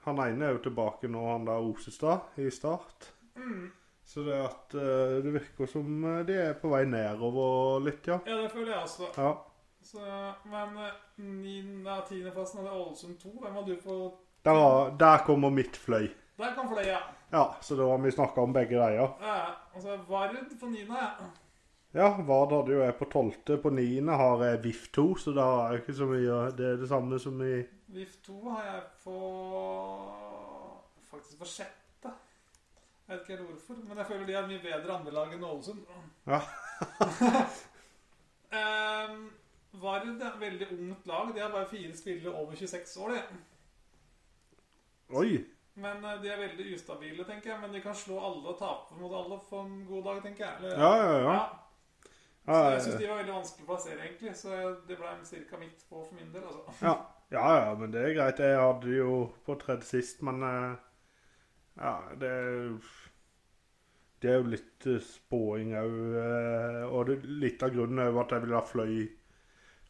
Speaker 1: Han ene er jo tilbake nå, han der Osestad, i start.
Speaker 2: mm.
Speaker 1: Så det at eh, det virker som eh, de er på vei nedover litt, ja.
Speaker 2: Ja, det føler jeg også.
Speaker 1: Ja.
Speaker 2: Så, men eh, niende- ja, tiendeplassen hadde Ålesund 2. Hvem var du på
Speaker 1: Der, var, der kommer mitt fløy.
Speaker 2: Der kan fløya.
Speaker 1: Ja, så da har vi snakka om begge de, ja.
Speaker 2: Eh, altså Vard på niende. ja.
Speaker 1: Ja, Vard hadde jo jeg på tolvte. På niende har jeg VIF2, så da har jeg ikke så mye Det er det samme som i
Speaker 2: VIF 2 har jeg på Faktisk på sjette. Jeg vet ikke helt hvorfor, men jeg føler de er et mye bedre andrelag enn Ålesund.
Speaker 1: Ja.
Speaker 2: [laughs] um, Vard er et veldig ungt lag. De har bare fire spillere over 26 år. De.
Speaker 1: Oi!
Speaker 2: Men eh, de er veldig ustabile, tenker jeg. Men de kan slå alle og tape mot alle på en god dag, tenker jeg. Eller-
Speaker 1: Ja, ja, ja.
Speaker 2: Så jeg syns
Speaker 1: ja,
Speaker 2: de var veldig vanskelig å plassere, egentlig. Så det ble ca. midt på for min del. altså.
Speaker 1: ja, ja, men det er greit. Jeg hadde jo på tredje sist, men eh, Ja, det er jo Det er jo litt eh, spåing òg, og det, litt av grunnen er jo at jeg ville ha fløy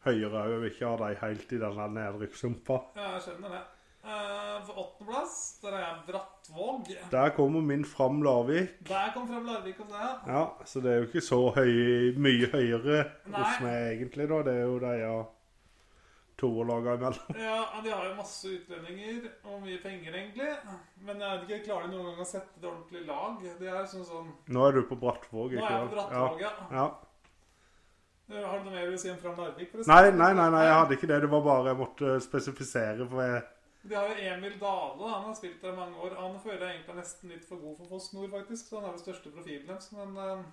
Speaker 1: høyere òg, og ikke ha dem helt i denne nedrykkssumpa.
Speaker 2: Ja, jeg skjønner det. Eh, På åttendeplass der er jeg Brattvåg.
Speaker 1: Der kommer min fram Larvik.
Speaker 2: Der kom fram Larvik og sa ja.
Speaker 1: Ja, så det er jo ikke så høy, mye høyere hos
Speaker 2: Nei.
Speaker 1: meg egentlig, da. Det er jo de ja, toerlagene imellom.
Speaker 2: ja, de har jo masse utlendinger og mye penger, egentlig. Men jeg vet ikke, klarer de noen gang å sette det ordentlig i lag? Det er sånn sånn
Speaker 1: Nå er du på Brattvåg,
Speaker 2: Nå
Speaker 1: ikke
Speaker 2: er jeg på
Speaker 1: sant?
Speaker 2: Brattvåg, ja.
Speaker 1: Ja.
Speaker 2: Eh, Har du noe mer du vil si om Fram Larvik? forresten?
Speaker 1: Nei, nei, nei, nei, jeg hadde ikke det. Det var bare jeg måtte eh, spesifisere. for jeg...
Speaker 2: De har jo Emil Dale, han har spilt der i mange år. Han føler jeg egentlig er nesten litt for god for Foss Nord, faktisk. Så han er den største profilen deres. Men eh,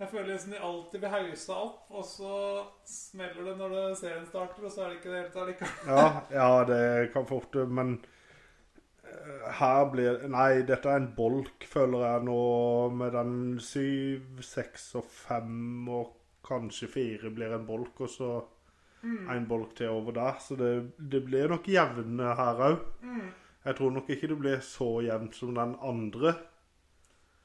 Speaker 2: jeg føler liksom de alltid blir hausa opp, og så smeller det når det- serien starter, og så er det ikke det helt allikevel.
Speaker 1: Ja, ja det kan fort Men eh, her blir Nei, dette er en bolk, føler jeg nå, med den syv, seks og fem og kanskje fire blir en bolk, og så en bolk til over der. Så det, det blir nok jevne her òg.
Speaker 2: Mm.
Speaker 1: Jeg tror nok ikke det blir så jevnt som den andre.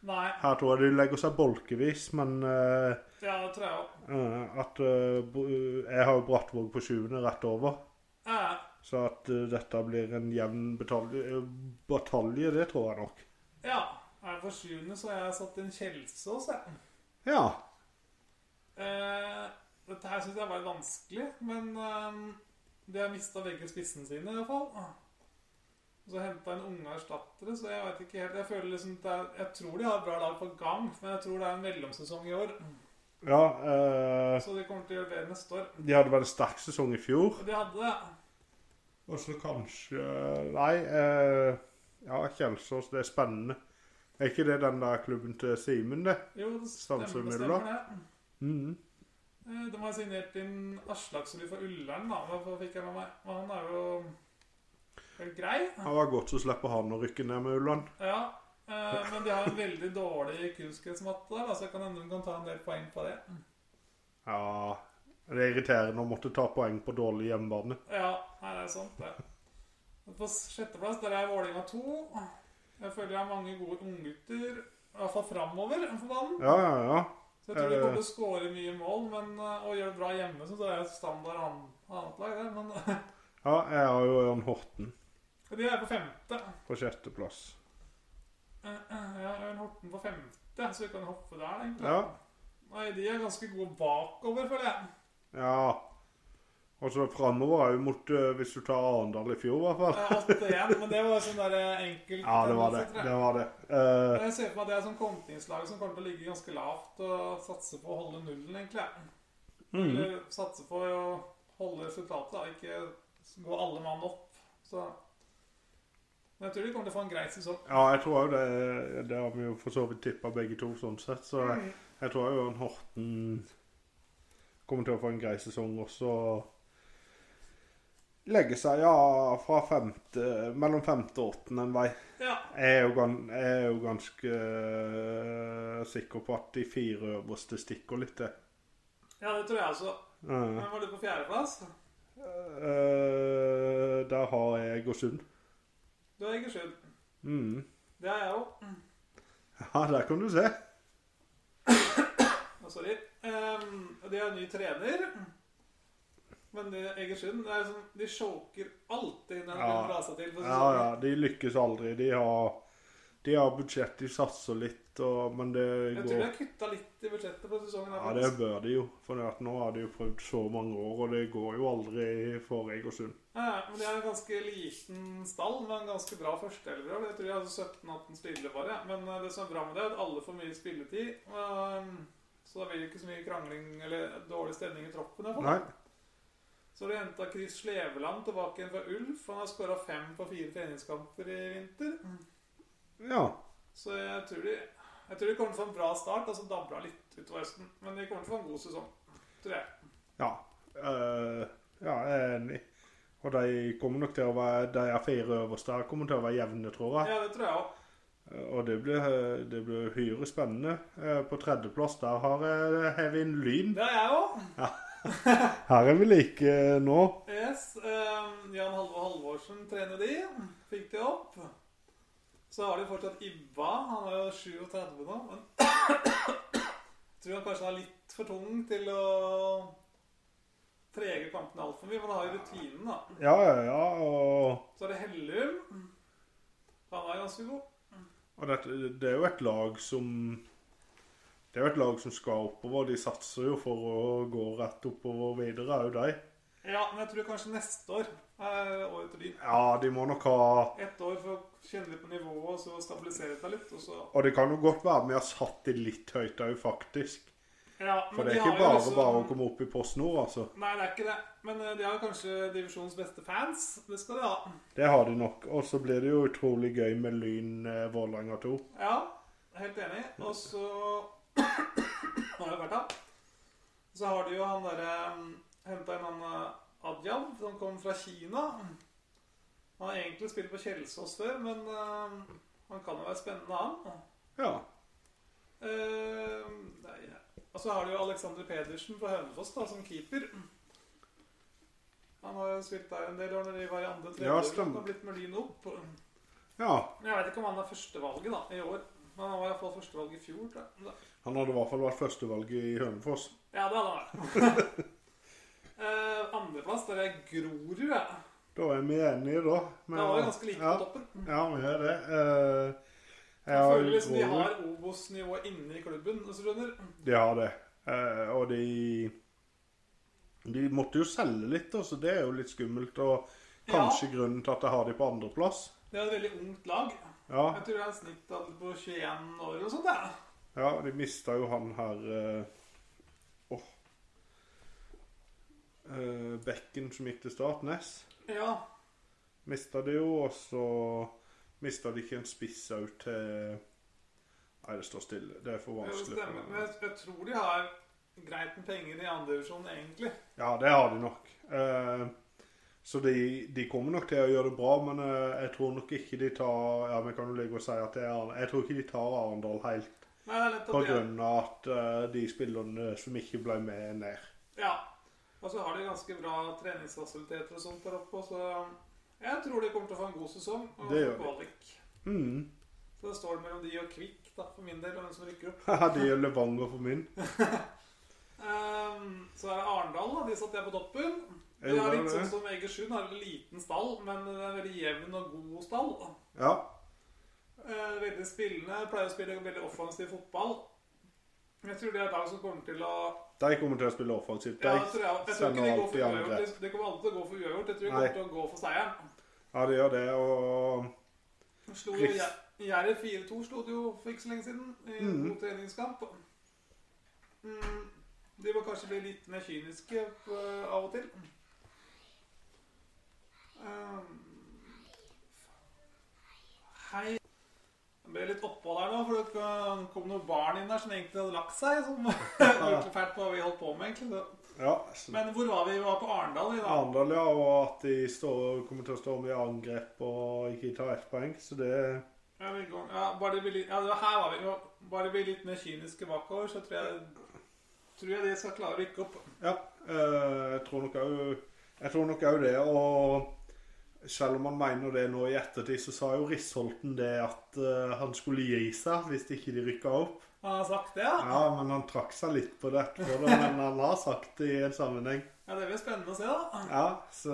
Speaker 2: Nei.
Speaker 1: Her tror jeg de legger seg bolkevis, men eh,
Speaker 2: Ja, det tror jeg òg.
Speaker 1: Eh, at eh, bo- Jeg har jo Brattvåg på sjuende rett over.
Speaker 2: Eh,
Speaker 1: Så at eh, dette blir en jevn batalje, eh, batalje, det tror jeg nok.
Speaker 2: ja. Her for sjuende så har jeg satt inn Kjelsås, jeg.
Speaker 1: Ja.
Speaker 2: Eh, dette her syns jeg var vanskelig, men eh, de har mista begge spissene sine, i hvert fall. Så henta en unge erstattere, så jeg vet ikke helt Jeg føler liksom at det er, jeg tror de har et bra lag på gang, men jeg tror det er en mellomsesong i år.
Speaker 1: ja eh,
Speaker 2: Så de kommer til å gjøre bedre neste år.
Speaker 1: de hadde vel en sterk sesong i fjor.
Speaker 2: Og de hadde det.
Speaker 1: Og så kanskje Nei. eh, ja, Kjelsås, det er spennende. Er ikke det den der klubben til Simen, det?
Speaker 2: Jo, det stemmer,
Speaker 1: Stamsund
Speaker 2: det
Speaker 1: Møller,
Speaker 2: stemmer det.
Speaker 1: Mhm.
Speaker 2: Eh, De har signert inn Aslaksrud fra Ullern, da. Hva fikk jeg med meg? Men han er jo helt grei.
Speaker 1: Det var godt så slipper han å rykke ned med Ulland.
Speaker 2: Ja, eh, men de har en veldig dårlig kunstgressmatte der, da, så jeg kan hende de kan ta en del poeng på det.
Speaker 1: Ja, det er irriterende å måtte ta poeng på dårlig hjemmebane.
Speaker 2: Ja, nei, det er sant, det. På sjetteplass der er Vålerenga 2. Jeg føler jeg har mange gode unggutter, i hvert fall framover på banen.
Speaker 1: Ja, ja, ja.
Speaker 2: Så jeg tror de kommer til å skåre mye mål men, eh, og gjøre det bra hjemme, så det er jo et standard an- annet lag, det. Men [laughs]
Speaker 1: Ja, jeg har jo Ørn Horten.
Speaker 2: de er på femte.
Speaker 1: på sjetteplass.
Speaker 2: Eh, eh, Ja, Ørn Horten på femte, så vi kan hoppe der, egentlig.
Speaker 1: Ja.
Speaker 2: Nei, de er ganske gode bakover, føler jeg.
Speaker 1: Ja. Og så framover er jo mot eh, Hvis du tar Arendal i fjor, i hvert fall.
Speaker 2: Eh, 8-1, men det var sånn der eh, enkelt.
Speaker 1: Ja, det var det.
Speaker 2: tror jeg.
Speaker 1: Det var det. Eh,
Speaker 2: Jeg ser for meg at det er sånn kontingslag som kommer til å ligge ganske lavt og satse på å holde nullen, egentlig.
Speaker 1: mm.
Speaker 2: Eller satse på å holde resultatet, da. ikke gå alle mann opp. Så. Men jeg tror de kommer til å få en grei sesong.
Speaker 1: Ja, jeg tror òg det. Det har vi jo for så vidt tippa begge to, sånn sett. Så jeg,
Speaker 2: Mm.
Speaker 1: jeg tror jo han Horten kommer til å få en grei sesong også. Legge seg ja, fra femte, mellom femte og åttende en vei.
Speaker 2: Ja,
Speaker 1: Jeg er jo, gan, jeg er jo ganske eh, sikker på at de fire øverste stikker litt, det.
Speaker 2: ja, det tror jeg også.
Speaker 1: Eh.
Speaker 2: Men var du på fjerdeplass?
Speaker 1: Eh, der har jeg Egersund.
Speaker 2: Du er Egersund.
Speaker 1: Mm. [laughs]
Speaker 2: Det er jeg Mm. òg.
Speaker 1: Ja, der kan du se.
Speaker 2: Sorry. Ehm, og de har en ny trener. Men det, Egersund det er sånn, De choker alltid når de
Speaker 1: Ja.
Speaker 2: blir rasa til. for
Speaker 1: Ja, ja,
Speaker 2: sesongen.
Speaker 1: de lykkes aldri. De har, de har budsjett, de satser litt, og, men det
Speaker 2: Jeg tror de
Speaker 1: går
Speaker 2: har kutta litt i budsjettet på sesongen. her,
Speaker 1: Ja, det
Speaker 2: faktisk.
Speaker 1: bør de jo. For det at nå har de jo prøvd så mange år, og det går jo aldri for Egersund.
Speaker 2: Ja, ja, men De er en ganske liten stall, men ganske bra førsteelver. Jeg tror de har 17-18 spillere bare. ja. Men eh, det som er bra med det, er at alle får mye spilletid. ehm, Så da blir det ikke så mye krangling eller dårlig stemning i troppen. i hvert fall.
Speaker 1: Nei.
Speaker 2: Så har de henta Chris Sleveland tilbake igjen fra Ulf. Han har skåra fem på fire treningskamper i vinter.
Speaker 1: Mm. Ja.
Speaker 2: Så jeg tror de, jeg tror de kommer til å få en bra start, og så dabler det litt utover høsten. Men de kommer til å få en god sesong, tror jeg.
Speaker 1: Ja. eh, ja, jeg er enig. Og de kommer nok til å være De er fire øverste her kommer til å være jevne, tror jeg.
Speaker 2: Ja, det tror jeg òg.
Speaker 1: Eh, Og det blir, eh, det blir hyre spennende. Eh, På tredjeplass der har jeg hevet inn Lyn.
Speaker 2: Det er jeg òg.
Speaker 1: Her er vi like eh, nå.
Speaker 2: Yes. ehm, Jan Halvor Halvorsen trener de. Fikk de opp. Så har de fortsatt Ibba. Han er jo 37 nå, men [coughs] tror han kanskje han er litt for tung til å trege kampene altfor mye. Men han har jo rutinen, da.
Speaker 1: Ja, ja, ja. Og,
Speaker 2: Så er det Hellum. Han er ganske god.
Speaker 1: og dette, det er jo et lag som Det er jo et lag som skal oppover. De satser jo for å gå rett oppover videre, òg de.
Speaker 2: Ja, men jeg tror kanskje neste år er året til Lyn.
Speaker 1: Ja, de må nok ha
Speaker 2: Ett år for å kjenne litt på nivået og så stabilisere seg litt. Og så
Speaker 1: Og det kan jo godt være vi har satt det litt høyt òg, faktisk.
Speaker 2: ja,
Speaker 1: For det er ikke bare bare å komme opp i Post Nord, altså.
Speaker 2: Nei, det er ikke det. Men eh, de har kanskje divisjonens beste fans. Det skal de ha.
Speaker 1: Det har de nok. Og så blir det jo utrolig gøy med Lyn eh, Vålerenga 2.
Speaker 2: Ja, helt enig. Og så Nå har jeg vært av. Så har de jo han derre Henta inn han eh, Adjan, som kom fra Kina. Han har egentlig spilt på Kjelsås før, men eh, han kan jo være spennende, han.
Speaker 1: Ja.
Speaker 2: Eh, nei, ja. Og så har du jo Alexander Pedersen fra Hønefoss da, som keeper. Han har jo spilt der en del år når de var i andre tredje.
Speaker 1: Ja,
Speaker 2: lag,
Speaker 1: stemmer.
Speaker 2: og har blitt med Lyn opp.
Speaker 1: ja.
Speaker 2: Men Jeg veit ikke om han er førstevalget da, i år. Men han var iallfall førstevalg i fjor. tror jeg.
Speaker 1: Han hadde i hvert fall vært førstevalget i Hønefoss.
Speaker 2: Ja, det hadde han vært. [laughs] Eh, Andreplass, der er Grorud. jeg.
Speaker 1: Da er vi enige, da. Men-
Speaker 2: Det var jo ganske lite
Speaker 1: ja.
Speaker 2: på toppen.
Speaker 1: Ja, vi er det. Eh, jeg
Speaker 2: Jeg
Speaker 1: har
Speaker 2: føler liksom de
Speaker 1: Grorud.
Speaker 2: har Obos-nivået inne i klubben. hvis du skjønner.
Speaker 1: De har det. Eh, og de De måtte jo selge litt, da, så det er jo litt skummelt. Og kanskje grunnen til at jeg har de på andreplass.
Speaker 2: Det er et veldig ungt lag.
Speaker 1: Ja.
Speaker 2: Jeg tror det er en snittalder på 21 år eller noe sånt. Ja.
Speaker 1: Ja, de mista jo han her eh, Åh eh, Bekken som gikk til Statnes.
Speaker 2: ja.
Speaker 1: Mista de jo, og så mista de ikke en spiss òg til Nei, det står stille. Det er for
Speaker 2: Ja, det
Speaker 1: vanskelig.
Speaker 2: stemmer.
Speaker 1: for
Speaker 2: Men jeg, jeg tror de har greit med penger i andre divisjon, egentlig.
Speaker 1: Ja, det har de nok. Eh, så de, de kommer nok til å gjøre det bra, men eh, jeg tror nok ikke de tar Ja, vi kan jo ligge og si at det er Arendal. Jeg tror ikke de tar Arendal helt
Speaker 2: Nei, det er lett
Speaker 1: på
Speaker 2: at de er,
Speaker 1: grunn av at eh, de spillerne som ikke ble med, er ned.
Speaker 2: ja. Og så har de ganske bra treningsfasiliteter og sånt der oppe, så jeg tror de kommer til å få en god sesong. Og
Speaker 1: Det gjør de.
Speaker 2: kvalik.
Speaker 1: Mm. [laughs]
Speaker 2: Så det står mellom de og Kvikk, da, for min del, og hvem som rykker opp.
Speaker 1: Haha, det gjør Levanger for min.
Speaker 2: Ehm, så er det Arendal, da. De satt jeg på toppen.
Speaker 1: Er
Speaker 2: Det
Speaker 1: det
Speaker 2: er
Speaker 1: bare
Speaker 2: litt sånn
Speaker 1: det?
Speaker 2: som Egersund, har en liten stall, men det er en veldig jevn og god stall.
Speaker 1: Ja.
Speaker 2: Eh, veldig spillende, pleier å spille veldig offensiv fotball. Jeg tror det er et lag som kommer til å
Speaker 1: De kommer til å spille offensivt.
Speaker 2: Ja,
Speaker 1: De
Speaker 2: det tror jeg. Jeg tror
Speaker 1: sender alt
Speaker 2: ikke de går
Speaker 1: i
Speaker 2: for uavgjort.
Speaker 1: andre.
Speaker 2: Det- Det kommer alltid til å gå for uavgjort. Jeg tror de
Speaker 1: Nei.
Speaker 2: kommer til å gå for seieren.
Speaker 1: Ja, de gjør det, og
Speaker 2: De Slo jo
Speaker 1: Riks-
Speaker 2: Gjer- Jerv 4-2 slo de jo for ikke så lenge siden i en
Speaker 1: Mhm.
Speaker 2: god treningskamp. Mm, de må kanskje bli litt mer kyniske eh, av og til. Um, hei. Det ble litt opphold her nå, for det kom- kom noen barn inn der som egentlig hadde lagt seg. Som [laughs] var egentlig fælt på hva vi holdt på med, egentlig. Så-
Speaker 1: Ja. så-
Speaker 2: Men hvor var vi? Vi var på Arendal. vi, da.
Speaker 1: Arendal, ja, og at de står, kommer til å stå med i angrep og ikke ta ett poeng, så det
Speaker 2: Ja, vi går- ja, bare det blir litt, ja, det var her var vi. jo. Bare det blir litt mer kyniske bakover, så tror jeg, tror jeg de skal klare å rykke opp.
Speaker 1: Ja. eh, Jeg tror nok òg Jeg tror nok òg det, og Selv om han mener det nå i ettertid, så sa jo Risholten det at eh, han skulle gi seg hvis ikke de rykka opp.
Speaker 2: Han har sagt det, ja?
Speaker 1: Ja, men han trakk seg litt på det etterpå, da, men han har sagt det i en sammenheng.
Speaker 2: Ja, Det blir spennende å se, da.
Speaker 1: Ja, så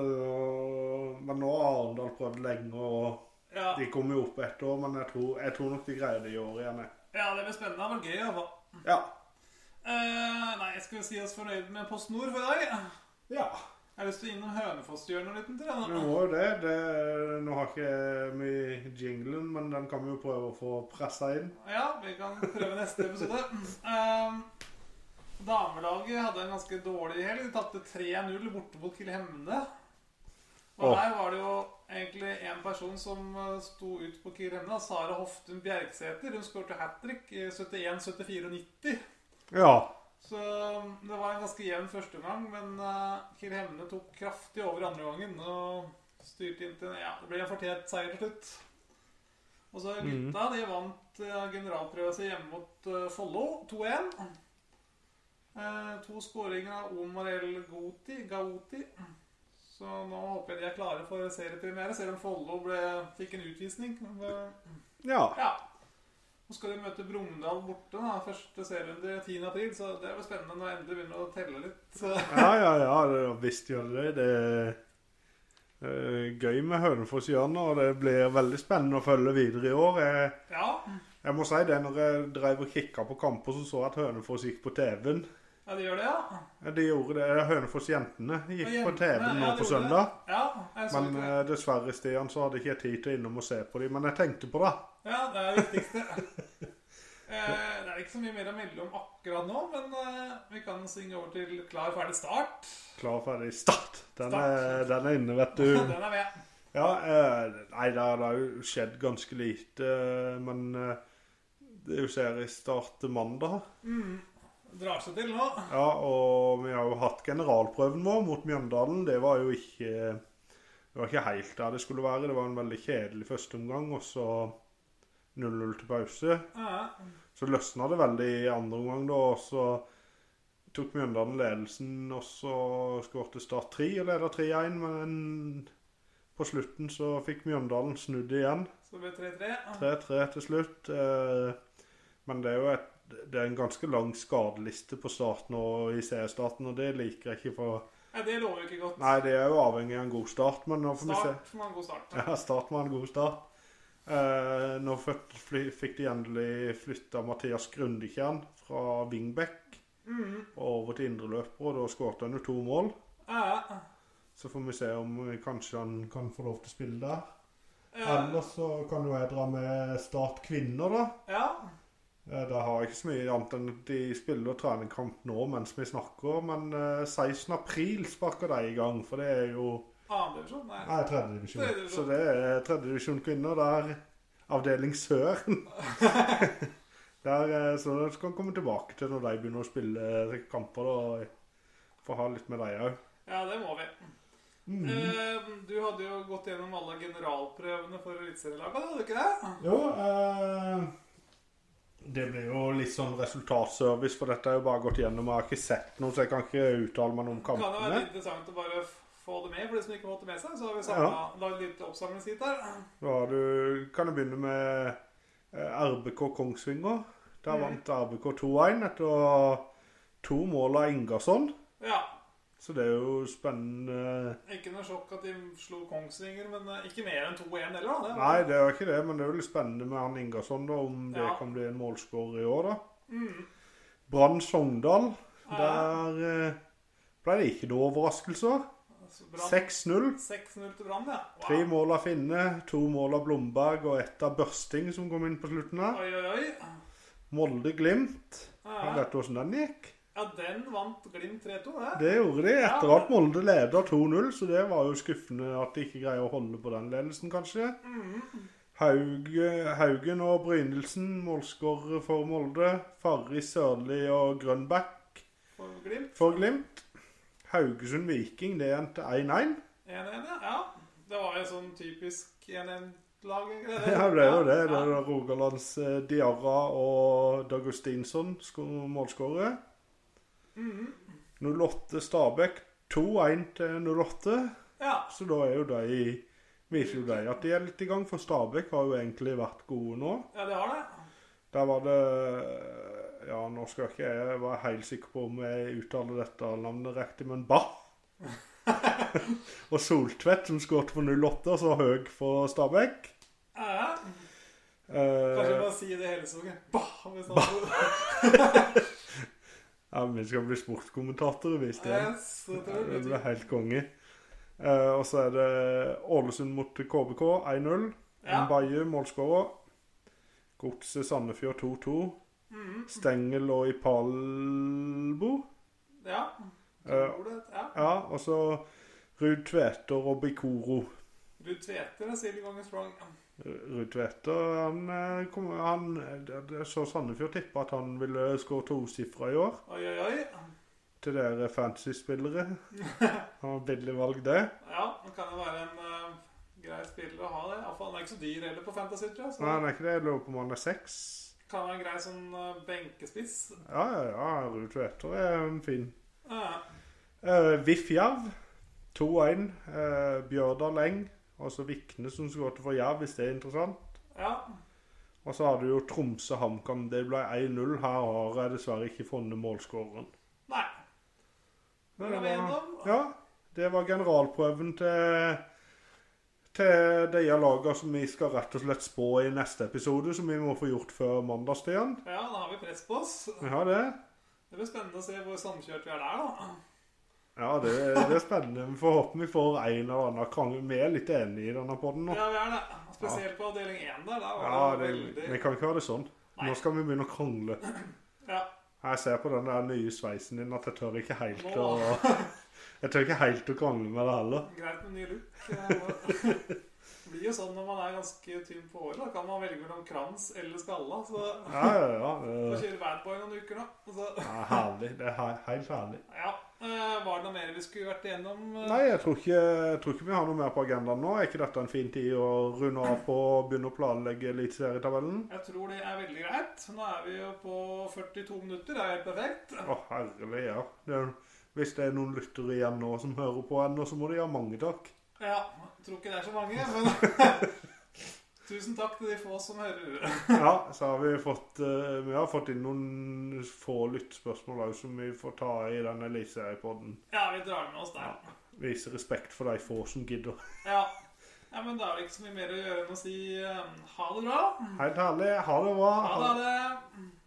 Speaker 1: Men nå har Arendal prøvd lenge, og
Speaker 2: Ja,
Speaker 1: de kommer jo opp ett år, men jeg tror, jeg tror nok de greier det i år igjen. jeg.
Speaker 2: ja det blir spennende. Det var gøy, iallfall.
Speaker 1: Ja.
Speaker 2: Uh, nei, skal vi si oss fornøyd med Post Nord for i dag?
Speaker 1: ja.
Speaker 2: Jeg har lyst til å innom Hønefoss-hjørnet litt. Til,
Speaker 1: Vi
Speaker 2: jeg,
Speaker 1: må jo det. det. Nå har ikke vi jinglen, men den kan vi jo prøve å få pressa inn.
Speaker 2: da. Ja, vi kan prøve neste episode. Ehm, damelaget hadde en ganske dårlig helg. De tapte 3-0 borte mot Kilhemne. Og
Speaker 1: Åh.
Speaker 2: her var det jo egentlig en person som eh, sto ut på Kilhemne. Sara Hoftun Bjerksæter. Hun skåret hat trick i 71, 74 og 90.
Speaker 1: Ja.
Speaker 2: Så um, det var en ganske jevn første gang, men uh, Kiel Hemne tok kraftig over andre gangen og styrte inn til Ja, det ble en fortjent seier til slutt. Og så gutta de vant uh, generalprøven sin hjemme mot eh, Follo 2-1. Eh, to skåringer av Omar El Gouti, Gauti. Så nå håper jeg de er klare for seriepremiere, selv om Follo ble- fikk en utvisning. Men, uh,
Speaker 1: Ja.
Speaker 2: ja. Nå skal de møte Brumunddal borte da, første serierunde 10. april, så det blir spennende når jeg endelig begynner å telle litt. Så,
Speaker 1: Ja, ja, ja, det, visst gjør det det. Det er eh, gøy med Hønefoss hjørne, og det blir veldig spennende å følge videre i år. Jeg,
Speaker 2: ja.
Speaker 1: jeg må si det, når jeg drev og kikka på kamper, så så jeg at Hønefoss gikk på TV-en.
Speaker 2: ja, de gjør det, ja.
Speaker 1: Ja, De gjorde det, Hønefoss-jentene gikk
Speaker 2: Og
Speaker 1: på TV-en
Speaker 2: jentene,
Speaker 1: nå
Speaker 2: ja,
Speaker 1: på
Speaker 2: de gjorde det.
Speaker 1: søndag.
Speaker 2: Ja, jeg så
Speaker 1: Men
Speaker 2: ikke det.
Speaker 1: eh, dessverre, Stian, så hadde ikke jeg tid til å innom og se på dem. Men jeg tenkte på det.
Speaker 2: Ja, det er det viktigste. [laughs] Eh, det er ikke så mye mer å melde om akkurat nå, men eh, vi kan synge over til klar, ferdig, start. [laughs]
Speaker 1: Klar, ferdig, start! Den er,
Speaker 2: Start.
Speaker 1: den er inne, vet du.
Speaker 2: [laughs] Den er med.
Speaker 1: Ja, eh, nei, det har- det har jo skjedd ganske lite. eh, Men eh, det er jo seriestart til mandag.
Speaker 2: Mm. Drar seg til nå.
Speaker 1: Ja, og vi har jo hatt generalprøven vår mot Mjøndalen. Det var jo ikke Det var ikke helt der det skulle være. Det var en veldig kjedelig førsteomgang, og så 0-0 til pause.
Speaker 2: Ja,
Speaker 1: Så løsna det veldig i andre omgang, da, og så tok Mjøndalen ledelsen, og så skårte Start 3 og leda 3-1, men på slutten så fikk Mjøndalen snudd igjen.
Speaker 2: så det blir 3-3.
Speaker 1: 3-3 til slutt. eh, Men det er jo et, det er en ganske lang skadeliste på start nå i seriestarten, og det liker jeg ikke. for...
Speaker 2: Ja, det lover jo ikke godt.
Speaker 1: Nei, det er jo avhengig av en god start, men nå får vi se.
Speaker 2: Start må ha en god start.
Speaker 1: Ja, start med en god start. Eh, nå født- fly, fikk de endelig flytta Mathias Grundekjern fra wingback
Speaker 2: Mhm.
Speaker 1: og over til indreløper, og da skåret han jo to mål.
Speaker 2: Ja,
Speaker 1: Så får vi se om eh, kanskje han kan få lov til å spille der.
Speaker 2: ja.
Speaker 1: Ellers så kan jo jeg dra med Start kvinner, da.
Speaker 2: ja.
Speaker 1: Eh, Det har jeg ikke så mye annet enn at de spiller og trener kamp nå mens vi snakker, men eh, 16. april sparker de i gang, for det er jo
Speaker 2: Andredivisjon? sånn, Nei.
Speaker 1: Nei, tredje divisjon.
Speaker 2: Tredje divisjon.
Speaker 1: Så det er tredje divisjon kvinner. Det er avdeling
Speaker 2: [laughs]
Speaker 1: sør. Der, eh, så det skal vi komme tilbake til når de begynner å spille eh, kamper, da. Få ha litt med dem Mm. òg.
Speaker 2: Ja, det må vi. Eh, du hadde jo gått gjennom alle generalprøvene for eliteserielaget, hadde du ikke det?
Speaker 1: Jo, eh, det blir jo litt sånn resultatservice, for dette er jo bare gått gjennom. Jeg har ikke sett noe, så jeg kan ikke uttale meg om
Speaker 2: Kan det være
Speaker 1: kampene.
Speaker 2: litt interessant å bare f- få det med for de som ikke har fått det med seg? Så har vi samlet, laget litt oppsamlingsheat her.
Speaker 1: Da har du, kan du begynne med eh, RBK Kongsvinger. Der
Speaker 2: Mm.
Speaker 1: vant RBK 2-1 etter to mål av Ingersson.
Speaker 2: Ja.
Speaker 1: Så det er jo spennende.
Speaker 2: Ikke noe sjokk at de slo Kongsvinger, men eh, ikke mer enn 2-1 heller, da. Det var-
Speaker 1: Nei, det er jo ikke det, men det er jo litt spennende med han Ingersson, da, om det
Speaker 2: Ja.
Speaker 1: kan bli en målskårer i år, da.
Speaker 2: Mm.
Speaker 1: Brann Sogndal.
Speaker 2: Ja.
Speaker 1: Der eh, ble det ikke noen overraskelser.
Speaker 2: Så Altså,
Speaker 1: 6-0.
Speaker 2: Brann- 6-0 til Brann, ja. Wow.
Speaker 1: Tre mål av Finne, to mål av Blomberg og ett av Børsting, som kom inn på slutten her.
Speaker 2: Oi, oi, oi.
Speaker 1: Molde-Glimt.
Speaker 2: Ja.
Speaker 1: Vet du åssen den gikk?
Speaker 2: Ja, den vant Glimt 3-2, det.
Speaker 1: Det gjorde de etter at Molde leda 2-0, så det var jo skuffende at de ikke greier å holde på den ledelsen, kanskje.
Speaker 2: Mm.
Speaker 1: Hauge- Haugen og Brynildsen, målskårere for Molde. Farri Sørli og Grønbæk
Speaker 2: For Glimt.
Speaker 1: for Glimt. Haugesund Viking, det endte 1-1.
Speaker 2: 1-1, ja. ja. Det var jo sånn typisk 1-1-lag,
Speaker 1: [laughs]
Speaker 2: egentlig.
Speaker 1: Ja, det er jo det. Det
Speaker 2: Ja.
Speaker 1: er Rogalands eh, Diarra og Dagustinsson sko- målskårere. 08 Stabæk 2-1 til 08.
Speaker 2: Ja.
Speaker 1: Så da er jo de Viser jo deg at de er litt i gang, for Stabæk har jo egentlig vært gode nå.
Speaker 2: Ja, det har det.
Speaker 1: Der var det Ja, nå skal ikke jeg være helt sikker på om jeg uttaler dette navnet riktig, men Bah. [laughs] og Soltvedt, som skåret for 08, og så høy for Stabæk.
Speaker 2: Ja, ja. Kanskje
Speaker 1: Eh,
Speaker 2: bare si det hele sangen. Bah! Hvis han tror.
Speaker 1: ja, vi skal bli sportskommentatorer hvis det er
Speaker 2: Yes, det tror
Speaker 1: Det
Speaker 2: jeg.
Speaker 1: blir helt konge. Eh, og så er det Ålesund mot KBK 1-0.
Speaker 2: Ja.
Speaker 1: Mbaye målskårer. Godset Sandefjord 2-2.
Speaker 2: Mhm.
Speaker 1: Stengel og Ipalbo.
Speaker 2: Ja.
Speaker 1: Eh,
Speaker 2: Tror det, ja.
Speaker 1: ja, og så Ruud Tveter og Bikoro.
Speaker 2: Du tveter deg selv i gangen strong.
Speaker 1: Ruud Tveter han, eh, kom, han det- det- Så Sandefjord tippe at han ville skåre tosifra i år.
Speaker 2: Oi, oi, oi.
Speaker 1: Til dere fantasy-spillere. Han har Billig valg, det.
Speaker 2: Ja, det kan jo være en eh, grei spiller å ha det. Iallfall han er ikke så dyr heller på Fantasy, tror jeg. Så
Speaker 1: Nei, han er ikke det. Jeg lurer på om han er seks.
Speaker 2: kan være en grei sånn eh, benkespiss.
Speaker 1: Ja, ja, ja. Ruud Tveter er en fin.
Speaker 2: Ja.
Speaker 1: Uh, Viff Jerv 2-1. eh, Bjørdal Eng. Og så Vikne som skåret for Jerv, hvis det er interessant.
Speaker 2: ja.
Speaker 1: Og så har du jo Tromsø HamKam. Det ble 1-0. Her har jeg dessverre ikke funnet målskåreren.
Speaker 2: Nei.
Speaker 1: Men
Speaker 2: Det er vi
Speaker 1: det var-
Speaker 2: gjennom.
Speaker 1: Ja, det var generalprøven til til de lagene som vi skal rett og slett spå i neste episode, som vi må få gjort før mandagstid igjen.
Speaker 2: Ja, da har vi press på oss.
Speaker 1: Vi har det.
Speaker 2: Det blir spennende å se hvor samkjørt vi er der, da.
Speaker 1: Ja, det, det er spennende. Vi får håpe vi får en eller annen krangel. Vi er litt enige i denne podden nå.
Speaker 2: Ja, vi er det. Spesielt på avdeling 1 der. Der
Speaker 1: Ja,
Speaker 2: var det
Speaker 1: det, vi
Speaker 2: veldig
Speaker 1: kan ikke ha det sånn.
Speaker 2: Nei.
Speaker 1: Nå skal vi begynne å krangle.
Speaker 2: Ja.
Speaker 1: Jeg ser på den der nye sveisen din at jeg tør ikke helt
Speaker 2: Nå.
Speaker 1: å Jeg tør ikke helt å krangle med deg heller.
Speaker 2: Greit med ny look. [laughs] Det blir jo sånn når man er ganske tynn på håret. Da kan man velge mellom krans eller skalla. Så
Speaker 1: Ja, ja, ja.
Speaker 2: [laughs] får
Speaker 1: det-
Speaker 2: kjøre badboy noen uker nå. Så,
Speaker 1: Det er herlig. Det er he- helt herlig.
Speaker 2: ja. Eh, Var det noe mer vi skulle vært igjennom?
Speaker 1: Nei, jeg tror, ikke, jeg tror ikke vi har noe mer på agendaen nå. Er ikke dette en fin tid å runde av på og begynne å planlegge eliteserietabellen?
Speaker 2: Jeg tror det er veldig greit. Nå er vi jo på 42 minutter. Det er helt perfekt.
Speaker 1: Å, herlig, ja. Det er, hvis det er noen lyttere igjen nå som hører på ennå, så må de ha mange takk.
Speaker 2: Ja, jeg tror ikke det er så mange, men [laughs] Tusen takk til de få som hører.
Speaker 1: Ja, så har vi fått eh, Vi har fått inn noen få lyttspørsmål òg som vi får ta i denne Elise-podden.
Speaker 2: Ja, vi drar med oss der.
Speaker 1: Vise respekt for de få som gidder.
Speaker 2: Ja. ja, men da er det ikke så mye mer å gjøre enn å si eh, ehm, ha det bra.
Speaker 1: Helt herlig. Ha det bra.
Speaker 2: Ha det. Ha det.